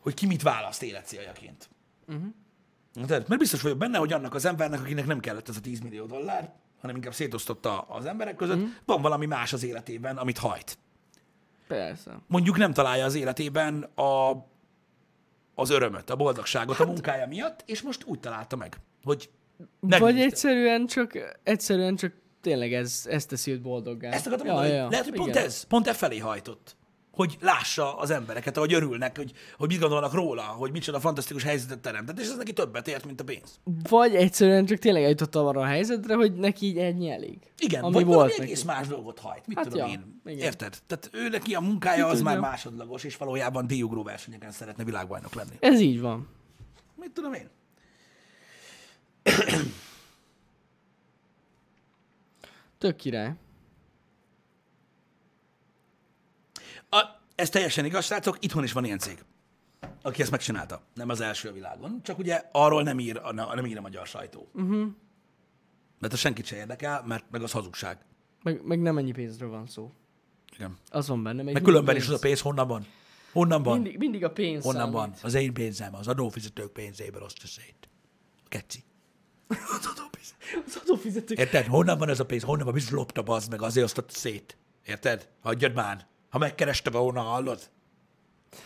Speaker 1: hogy ki mit választ életcéljaként. Uh-huh. Tehát, mert biztos vagyok benne, hogy annak az embernek, akinek nem kellett ez a 10 millió dollár, hanem inkább szétosztotta az emberek között, uh-huh. van valami más az életében, amit hajt.
Speaker 2: Persze.
Speaker 1: Mondjuk nem találja az életében a, az örömöt, a boldogságot hát, a munkája miatt, és most úgy találta meg, hogy
Speaker 2: Vagy
Speaker 1: megnézte.
Speaker 2: egyszerűen csak, egyszerűen csak tényleg ez, ez teszi őt boldoggá.
Speaker 1: Ezt akartam mondani, ja, ja, lehet, hogy pont
Speaker 2: igen.
Speaker 1: ez, pont e felé hajtott. Hogy lássa az embereket, ahogy örülnek, hogy, hogy mit gondolnak róla, hogy micsoda fantasztikus helyzetet teremtett, és ez neki többet ért, mint a pénz.
Speaker 2: Vagy egyszerűen csak tényleg eljutottam arra a helyzetre, hogy neki így ennyi elég.
Speaker 1: Igen,
Speaker 2: ami
Speaker 1: vagy
Speaker 2: volt
Speaker 1: valami
Speaker 2: neki.
Speaker 1: egész más dolgot hajt, mit hát
Speaker 2: Hát
Speaker 1: tudom ja,
Speaker 2: ja,
Speaker 1: én. Igen.
Speaker 2: igen.
Speaker 1: Érted? Tehát ő neki a munkája az már
Speaker 2: tudja.
Speaker 1: másodlagos, és valójában diugró versenyeken szeretne világbajnok lenni.
Speaker 2: Ez így van.
Speaker 1: Mit tudom én?
Speaker 2: Tök király.
Speaker 1: A, ez teljesen igaz, srácok, itthon is van ilyen cég, aki ezt megcsinálta. Nem az első a világon, csak ugye arról nem ír a, na- nem ír a magyar sajtó. Uh-huh.
Speaker 2: Mhm.
Speaker 1: Mert az senkit se érdekel, mert meg az hazugság.
Speaker 2: Meg, meg nem ennyi pénzről van szó.
Speaker 1: Igen.
Speaker 2: Az van benne. Meg,
Speaker 1: Meg
Speaker 2: mindig
Speaker 1: különben is
Speaker 2: pénz.
Speaker 1: az a pénz honnan van? Honnan van?
Speaker 2: Mindig, mindig a pénz
Speaker 1: honnan
Speaker 2: számít.
Speaker 1: van? Az én pénzem, az adófizetők pénzéből azt szét. Keci. Az adófizetők.
Speaker 2: Az adófizetők.
Speaker 1: Érted? Honnan van ez a pénz? Honnan van? Biztos lopta az meg, azért azt adta szét. Érted? Hagyjad már. Ha megkereste volna, hallod?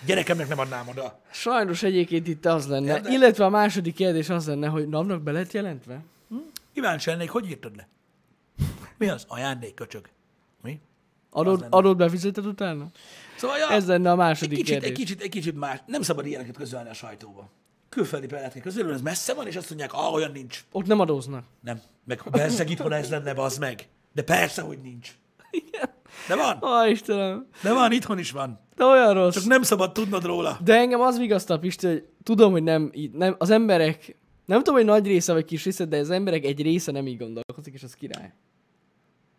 Speaker 1: Gyerekemnek nem adnám oda.
Speaker 2: Sajnos egyébként itt az lenne,
Speaker 1: Érde-
Speaker 2: illetve a második kérdés az lenne, hogy napnak be lett jelentve?
Speaker 1: Kíváncsi lennék, hogy írtad le? Mi az? Ajándék, köcsög. Mi?
Speaker 2: Adót, adót befizeted utána?
Speaker 1: Szóval, ja,
Speaker 2: Ez lenne a
Speaker 1: egy,
Speaker 2: második
Speaker 1: kicsit, egy,
Speaker 2: kérdés.
Speaker 1: kicsit, egy kicsit más. Nem szabad ilyeneket közölni a sajtóba. Külföldi példát kell közölni, ez messze van, és azt mondják, ah, olyan nincs.
Speaker 2: Ott nem adóznak.
Speaker 1: Nem. Meg persze itthon ez lenne, az meg. De persze, hogy nincs.
Speaker 2: Igen.
Speaker 1: De van.
Speaker 2: Ó, Istenem.
Speaker 1: De van, itthon is van.
Speaker 2: De olyan rossz.
Speaker 1: Csak nem szabad tudnod róla.
Speaker 2: De engem az vigasztal, Pisti, hogy tudom, hogy nem, így- nem, az emberek, nem tudom, hogy nagy része vagy kis része, de az emberek egy része nem így gondolkozik, és az király.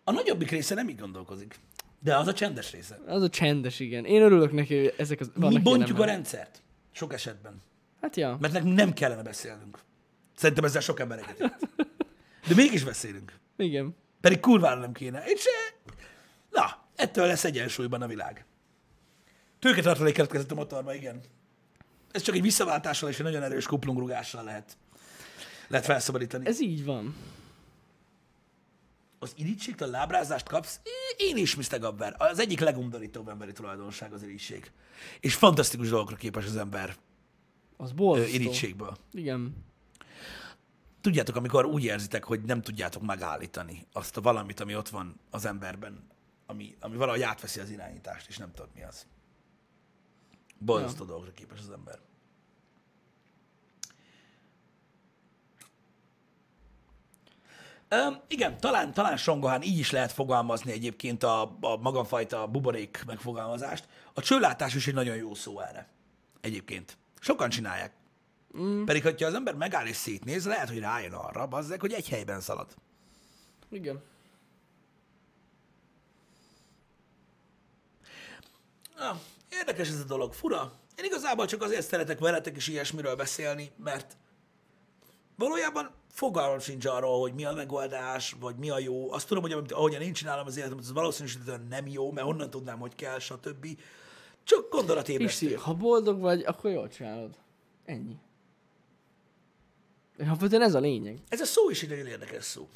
Speaker 1: A nagyobbik része nem így gondolkozik. De az a csendes része.
Speaker 2: Az a csendes, igen. Én örülök neki, hogy ezek az, vannak
Speaker 1: Mi
Speaker 2: ilyen
Speaker 1: bontjuk a
Speaker 2: emberek.
Speaker 1: rendszert. Sok esetben.
Speaker 2: Hát ja.
Speaker 1: Mert nekünk nem kellene beszélnünk. Szerintem ezzel sok ember egyetért. De mégis beszélünk.
Speaker 2: Igen.
Speaker 1: Pedig kurvára nem kéne. És eh, na, ettől lesz egyensúlyban a világ. Tőketartalék keletkezett a motorba, igen. Ez csak egy visszaváltással és egy nagyon erős kuplungrugással lehet, lehet felszabadítani.
Speaker 2: Ez így van.
Speaker 1: az irítségtől lábrázást kapsz, én is, Mr. Gabber. Az egyik legundorítóbb emberi tulajdonság az irítség. És fantasztikus dolgokra képes az ember
Speaker 2: Az
Speaker 1: ö,
Speaker 2: borzasztó.
Speaker 1: irítségből.
Speaker 2: Igen.
Speaker 1: Tudjátok, amikor úgy érzitek, hogy nem tudjátok megállítani azt a valamit, ami ott van az emberben, ami, ami valahogy átveszi az irányítást, és nem tudod mi az. Borzasztó dolgokra képes az ember. Öm, igen, talán, talán Songohán így is lehet fogalmazni egyébként a, a magamfajta buborék megfogalmazást. A csőlátás is egy nagyon jó szó erre. Egyébként. Sokan csinálják. Mm. Pedig, hogyha az ember megáll és szétnéz, lehet, hogy rájön arra, bazzeg, hogy egy helyben szalad.
Speaker 2: Igen.
Speaker 1: Na, érdekes ez a dolog, fura. Én igazából csak azért szeretek veletek is ilyesmiről beszélni, mert valójában fogalmam sincs arról, hogy mi a megoldás, vagy mi a jó. Azt tudom, hogy amit- ahogyan én csinálom az életemet, az valószínűsítően nem jó, mert honnan tudnám, hogy kell, stb. Csak
Speaker 2: Pisti,
Speaker 1: gondolatébresztő.
Speaker 2: ha boldog vagy, akkor jól csinálod. Ennyi. Alapvetően ez a lényeg.
Speaker 1: Ez a szó is egy nagyon érdekes szó.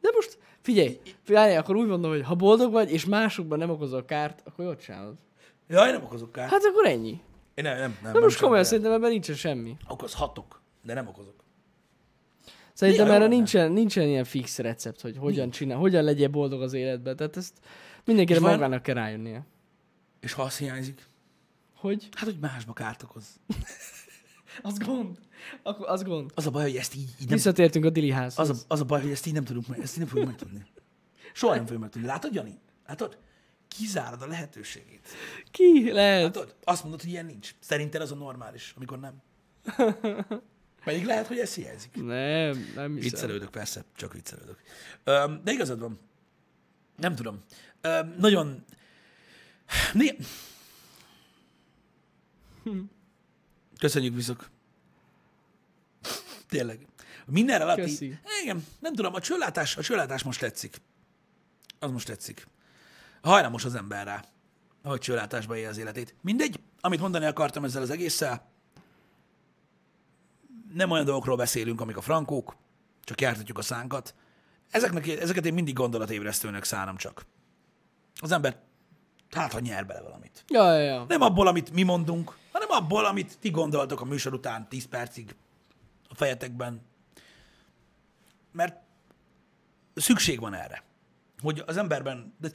Speaker 2: De most figyelj, figyelj, akkor úgy mondom, hogy ha boldog vagy, és másokban nem okozol kárt, akkor jól csinálod.
Speaker 1: Jaj, nem okozok kárt.
Speaker 2: Hát akkor ennyi.
Speaker 1: Én nem, nem, nem.
Speaker 2: Na most
Speaker 1: csak-
Speaker 2: komolyan
Speaker 1: nem.
Speaker 2: szerintem ebben nincsen semmi.
Speaker 1: Okozhatok, de nem okozok.
Speaker 2: Szerintem
Speaker 1: Néha
Speaker 2: erre
Speaker 1: jó lenne.
Speaker 2: nincsen, nincsen ilyen fix recept, hogy hogyan csinál, hogyan legyél boldog az életben. Tehát ezt mindenkire
Speaker 1: És van-
Speaker 2: magának kell rájönnie.
Speaker 1: És ha az hiányzik?
Speaker 2: Hogy?
Speaker 1: Hát, hogy másba kárt okoz.
Speaker 2: Az gond. Akkor az gond.
Speaker 1: Az a baj, hogy ezt így, így nem
Speaker 2: Visszatértünk a diliházhoz.
Speaker 1: Az a, az a baj, hogy ezt így nem tudunk meg, ezt így nem fogjuk megtudni. Soha nem fogjuk megtudni. Látod, Jani? Látod? Kizárod a lehetőségét.
Speaker 2: Ki lehet?
Speaker 1: Látod? Azt mondod, hogy ilyen nincs. Szerinted az a normális, amikor nem. Pedig lehet, hogy ez hiányzik.
Speaker 2: Nem, nem hiszem.
Speaker 1: Viccelődök, persze, csak viccelődök. Öm, De igazad van. Nem tudom. Öm, Nagyon... Né- Köszönjük viszok. Tényleg. Minden relatív.
Speaker 2: Köszi.
Speaker 1: Igen, nem tudom, a csőlátás, a csőlátás most tetszik. Az most tetszik. Hajlamos az ember rá, hogy csőlátásba élje az életét. Mindegy, amit mondani akartam ezzel az egésszel, nem olyan dolgokról beszélünk, amik a frankók, csak jártatjuk a szánkat. Ezeknek, ezeket én mindig gondolatébresztőnek szánom csak. Az ember, hát ha nyer bele valamit.
Speaker 2: Ja, ja, ja.
Speaker 1: Nem abból, amit mi mondunk, hanem abból, amit ti gondoltok a műsor után 10 percig a fejetekben. Mert szükség van erre. Hogy az emberben, de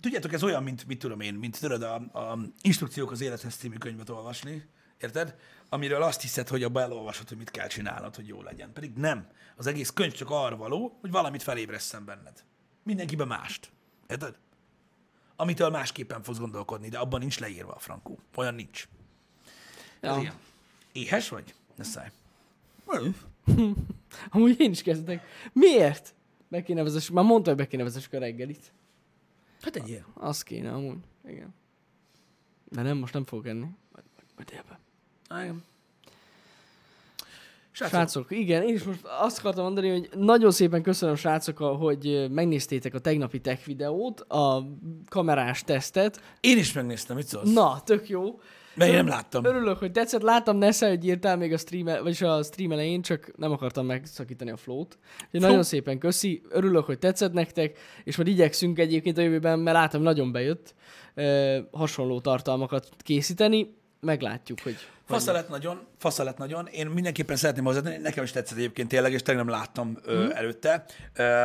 Speaker 1: tudjátok, ez olyan, mint mit tudom én, mint tudod a, a Instrukciók az élethez című könyvet olvasni, érted? Amiről azt hiszed, hogy abba elolvasod, hogy mit kell csinálnod, hogy jó legyen. Pedig nem. Az egész könyv csak arra való, hogy valamit felébresszen benned. Mindenkiben mást. Érted? amitől másképpen fogsz gondolkodni, de abban nincs leírva a frankó. Olyan nincs. Ez
Speaker 2: ja.
Speaker 1: ilyen. Éhes vagy? Ne szállj.
Speaker 2: Amúgy én is kezdek. Miért? Be kéne vezess, már mondta, hogy be kéne vezessük a reggelit.
Speaker 1: Hát egy ilyen.
Speaker 2: Az kéne amúgy. Igen. De nem, most nem fogok enni. Majd, majd, majd délben.
Speaker 1: Igen. Srácok,
Speaker 2: Srácok, igen, én is most azt akartam mondani, hogy nagyon szépen köszönöm srácok, hogy ö, megnéztétek a tegnapi tech videót, a kamerás tesztet.
Speaker 1: én is megnéztem, mit szólsz?
Speaker 2: Na, tök jó.
Speaker 1: Mert én nem láttam.
Speaker 2: Örülök, hogy tetszett. Láttam Nesze, hogy írtál még a stream, el- vagyis a stream elején, csak nem akartam megszakítani a flót. Úgyhogy
Speaker 1: Flow.
Speaker 2: nagyon szépen köszi, örülök, hogy tetszett nektek, és majd igyekszünk egyébként a jövőben, mert látom, nagyon bejött ö, hasonló tartalmakat készíteni. Meglátjuk, hogy...
Speaker 1: Fasza lett nagyon, fasza lett nagyon. Én mindenképpen szeretném hozzátenni, nekem is tetszett egyébként tényleg, és tényleg nem láttam ö,
Speaker 2: Mhm.
Speaker 1: előtte. Ö,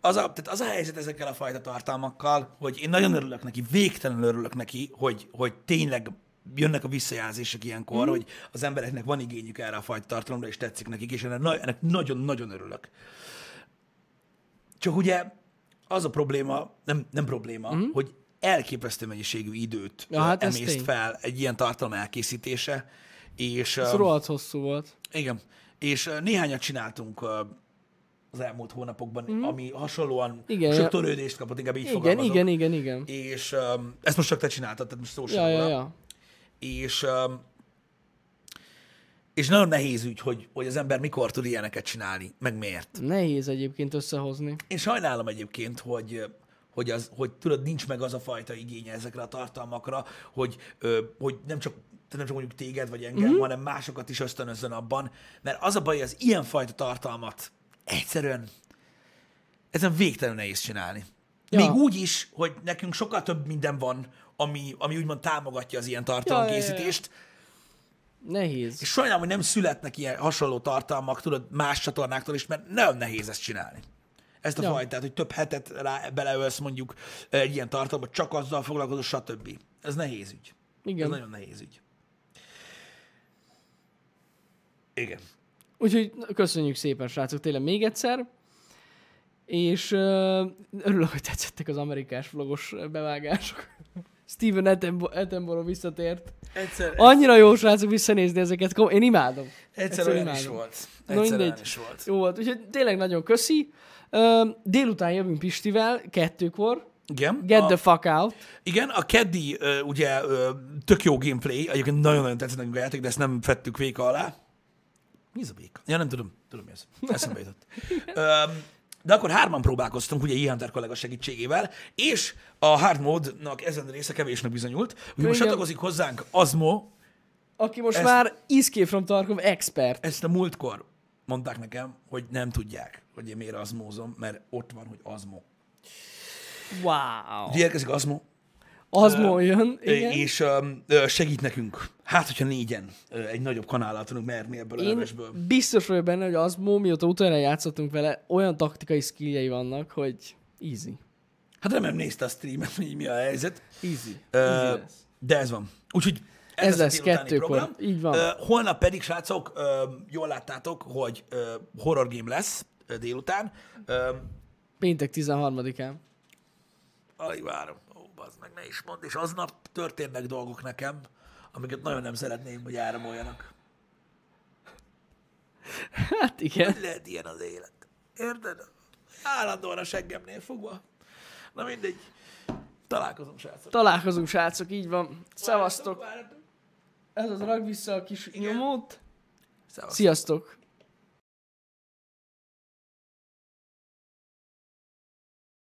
Speaker 1: az a, tehát az a helyzet ezekkel a fajta tartalmakkal, hogy én nagyon örülök neki, végtelenül örülök neki, hogy, hogy tényleg jönnek a visszajelzések
Speaker 2: Mhm.
Speaker 1: ilyenkor, mm. hogy az embereknek van igényük erre a fajta tartalomra, és tetszik nekik, és ennek na- ennek nagyon-nagyon örülök. Csak ugye az a probléma, nem, nem probléma, mm. hogy elképesztő mennyiségű időt
Speaker 2: Mhm. Ja,
Speaker 1: ö,
Speaker 2: hát ez
Speaker 1: emészt
Speaker 2: tény.
Speaker 1: fel egy ilyen tartalom elkészítése, és...
Speaker 2: Ez
Speaker 1: ö,
Speaker 2: rohadt Szóval hosszú volt.
Speaker 1: igen. És ö, néhányat csináltunk ö, az elmúlt hónapokban, mm. ami hasonlóan
Speaker 2: Mhm. Igen,
Speaker 1: igen, sok
Speaker 2: ja.
Speaker 1: törődést kapott, inkább így igen,
Speaker 2: Igen,
Speaker 1: fogalmazok.
Speaker 2: igen, igen, igen.
Speaker 1: És ö, ezt most csak te csináltad, tehát most szó sem
Speaker 2: Ja, ja,
Speaker 1: róla.
Speaker 2: ja.
Speaker 1: És, öm, és nagyon nehéz ügy, hogy, hogy az ember mikor tud ilyeneket csinálni, meg miért.
Speaker 2: Nehéz egyébként összehozni.
Speaker 1: Én sajnálom egyébként, hogy hogy, az, hogy tudod, nincs meg az a fajta igénye ezekre a tartalmakra, hogy, ö, hogy nem csak tehát nem csak mondjuk téged vagy engem, mm-hmm. hanem másokat is ösztönözzön abban, mert az a baj, az ilyenfajta tartalmat egyszerűen ezen végtelenül nehéz csinálni. Ja.
Speaker 2: Ja.
Speaker 1: Még úgy is, hogy nekünk sokkal több minden van, ami, ami úgymond támogatja az ilyen tartalomkészítést,
Speaker 2: Nehéz.
Speaker 1: és sajnálom, hogy nem születnek ilyen hasonló tartalmak, tudod, más csatornáktól is, mert nagyon nehéz ezt csinálni. Ezt a ja.
Speaker 2: Ja.
Speaker 1: fajtát, hogy több hetet rá beleölsz mondjuk egy ilyen tartalomba, csak azzal foglalkozol, stb. Ez nehéz ügy. Ez
Speaker 2: Igen.
Speaker 1: nagyon nehéz ügy. Igen.
Speaker 2: Úgyhogy köszönjük szépen, srácok, tényleg még egyszer. És ö, örülök, hogy tetszettek az amerikás vlogos bevágások. Steven Attenborough, Attenborough visszatért.
Speaker 1: Egyszer,
Speaker 2: Annyira jó srácok visszanézni ezeket, kom- én imádom.
Speaker 1: egyszer olyan
Speaker 2: imádom.
Speaker 1: is volt.
Speaker 2: Na
Speaker 1: Egyszer
Speaker 2: mindegy.
Speaker 1: olyan is volt.
Speaker 2: Jó volt, úgyhogy tényleg nagyon köszi. Ö, Délután jövünk Pistivel, kettőkor.
Speaker 1: Igen.
Speaker 2: Get
Speaker 1: a,
Speaker 2: the fuck out.
Speaker 1: Igen, a Caddy ö, ugye ö, tök jó gameplay, egyébként nagyon-nagyon tetszett nekünk a játék, de ezt nem fettük véka alá. Mi ez a véka? Ja, nem tudom. Tudom, mi ez. Eszembe jutott. Öm, de akkor hárman próbálkoztunk, ugye ilyen kollega segítségével, és a hard mode-nak ezen a része kevésnek bizonyult. Ugye most
Speaker 2: Igen.
Speaker 1: csatlakozik hozzánk Azmo,
Speaker 2: Aki most
Speaker 1: Ezt-
Speaker 2: már Escape from Tarkov expert.
Speaker 1: ezt a múltkor mondták nekem, hogy nem tudják, hogy én miért azmózom, mert ott van, hogy azmo.
Speaker 2: Wow.
Speaker 1: Ugye érkezik azmo,
Speaker 2: Az jön,
Speaker 1: Igen?
Speaker 2: igen.
Speaker 1: és öm, ö, segít nekünk. Hát, hogyha négyen ö, egy nagyobb kanállal tudunk merni ebből a
Speaker 2: Én
Speaker 1: levesből.
Speaker 2: biztos vagyok benne, hogy az Mó, mióta utána játszottunk vele, olyan taktikai skilljei vannak, hogy easy.
Speaker 1: Hát remélem nézte a streamet, hogy mi a helyzet.
Speaker 2: Easy.
Speaker 1: Ö,
Speaker 2: easy lesz.
Speaker 1: de ez van. Úgyhogy ez,
Speaker 2: Ez
Speaker 1: a
Speaker 2: lesz
Speaker 1: délutáni
Speaker 2: kettőkor.
Speaker 1: program.
Speaker 2: Így van.
Speaker 1: Ö, holnap pedig, srácok, ö, jól láttátok, hogy ö, horror game lesz ö, délután. Ö,
Speaker 2: Péntek 13-án.
Speaker 1: alig várom. Ó, bazd meg, ne is mondd. És aznap történnek dolgok nekem, amiket nagyon nem szeretném, hogy áramoljanak.
Speaker 2: Hát igen.
Speaker 1: Hogy lehet ilyen az élet? Érted? Állandóan a seggemnél fogva. Na mindegy. Találkozom, srácok.
Speaker 2: Találkozunk, srácok, így van. Szevasztok.
Speaker 1: Várjatok, várjatok.
Speaker 2: Ez az rag vissza a kis nyomót.
Speaker 1: Szevasztok.
Speaker 2: Sziasztok.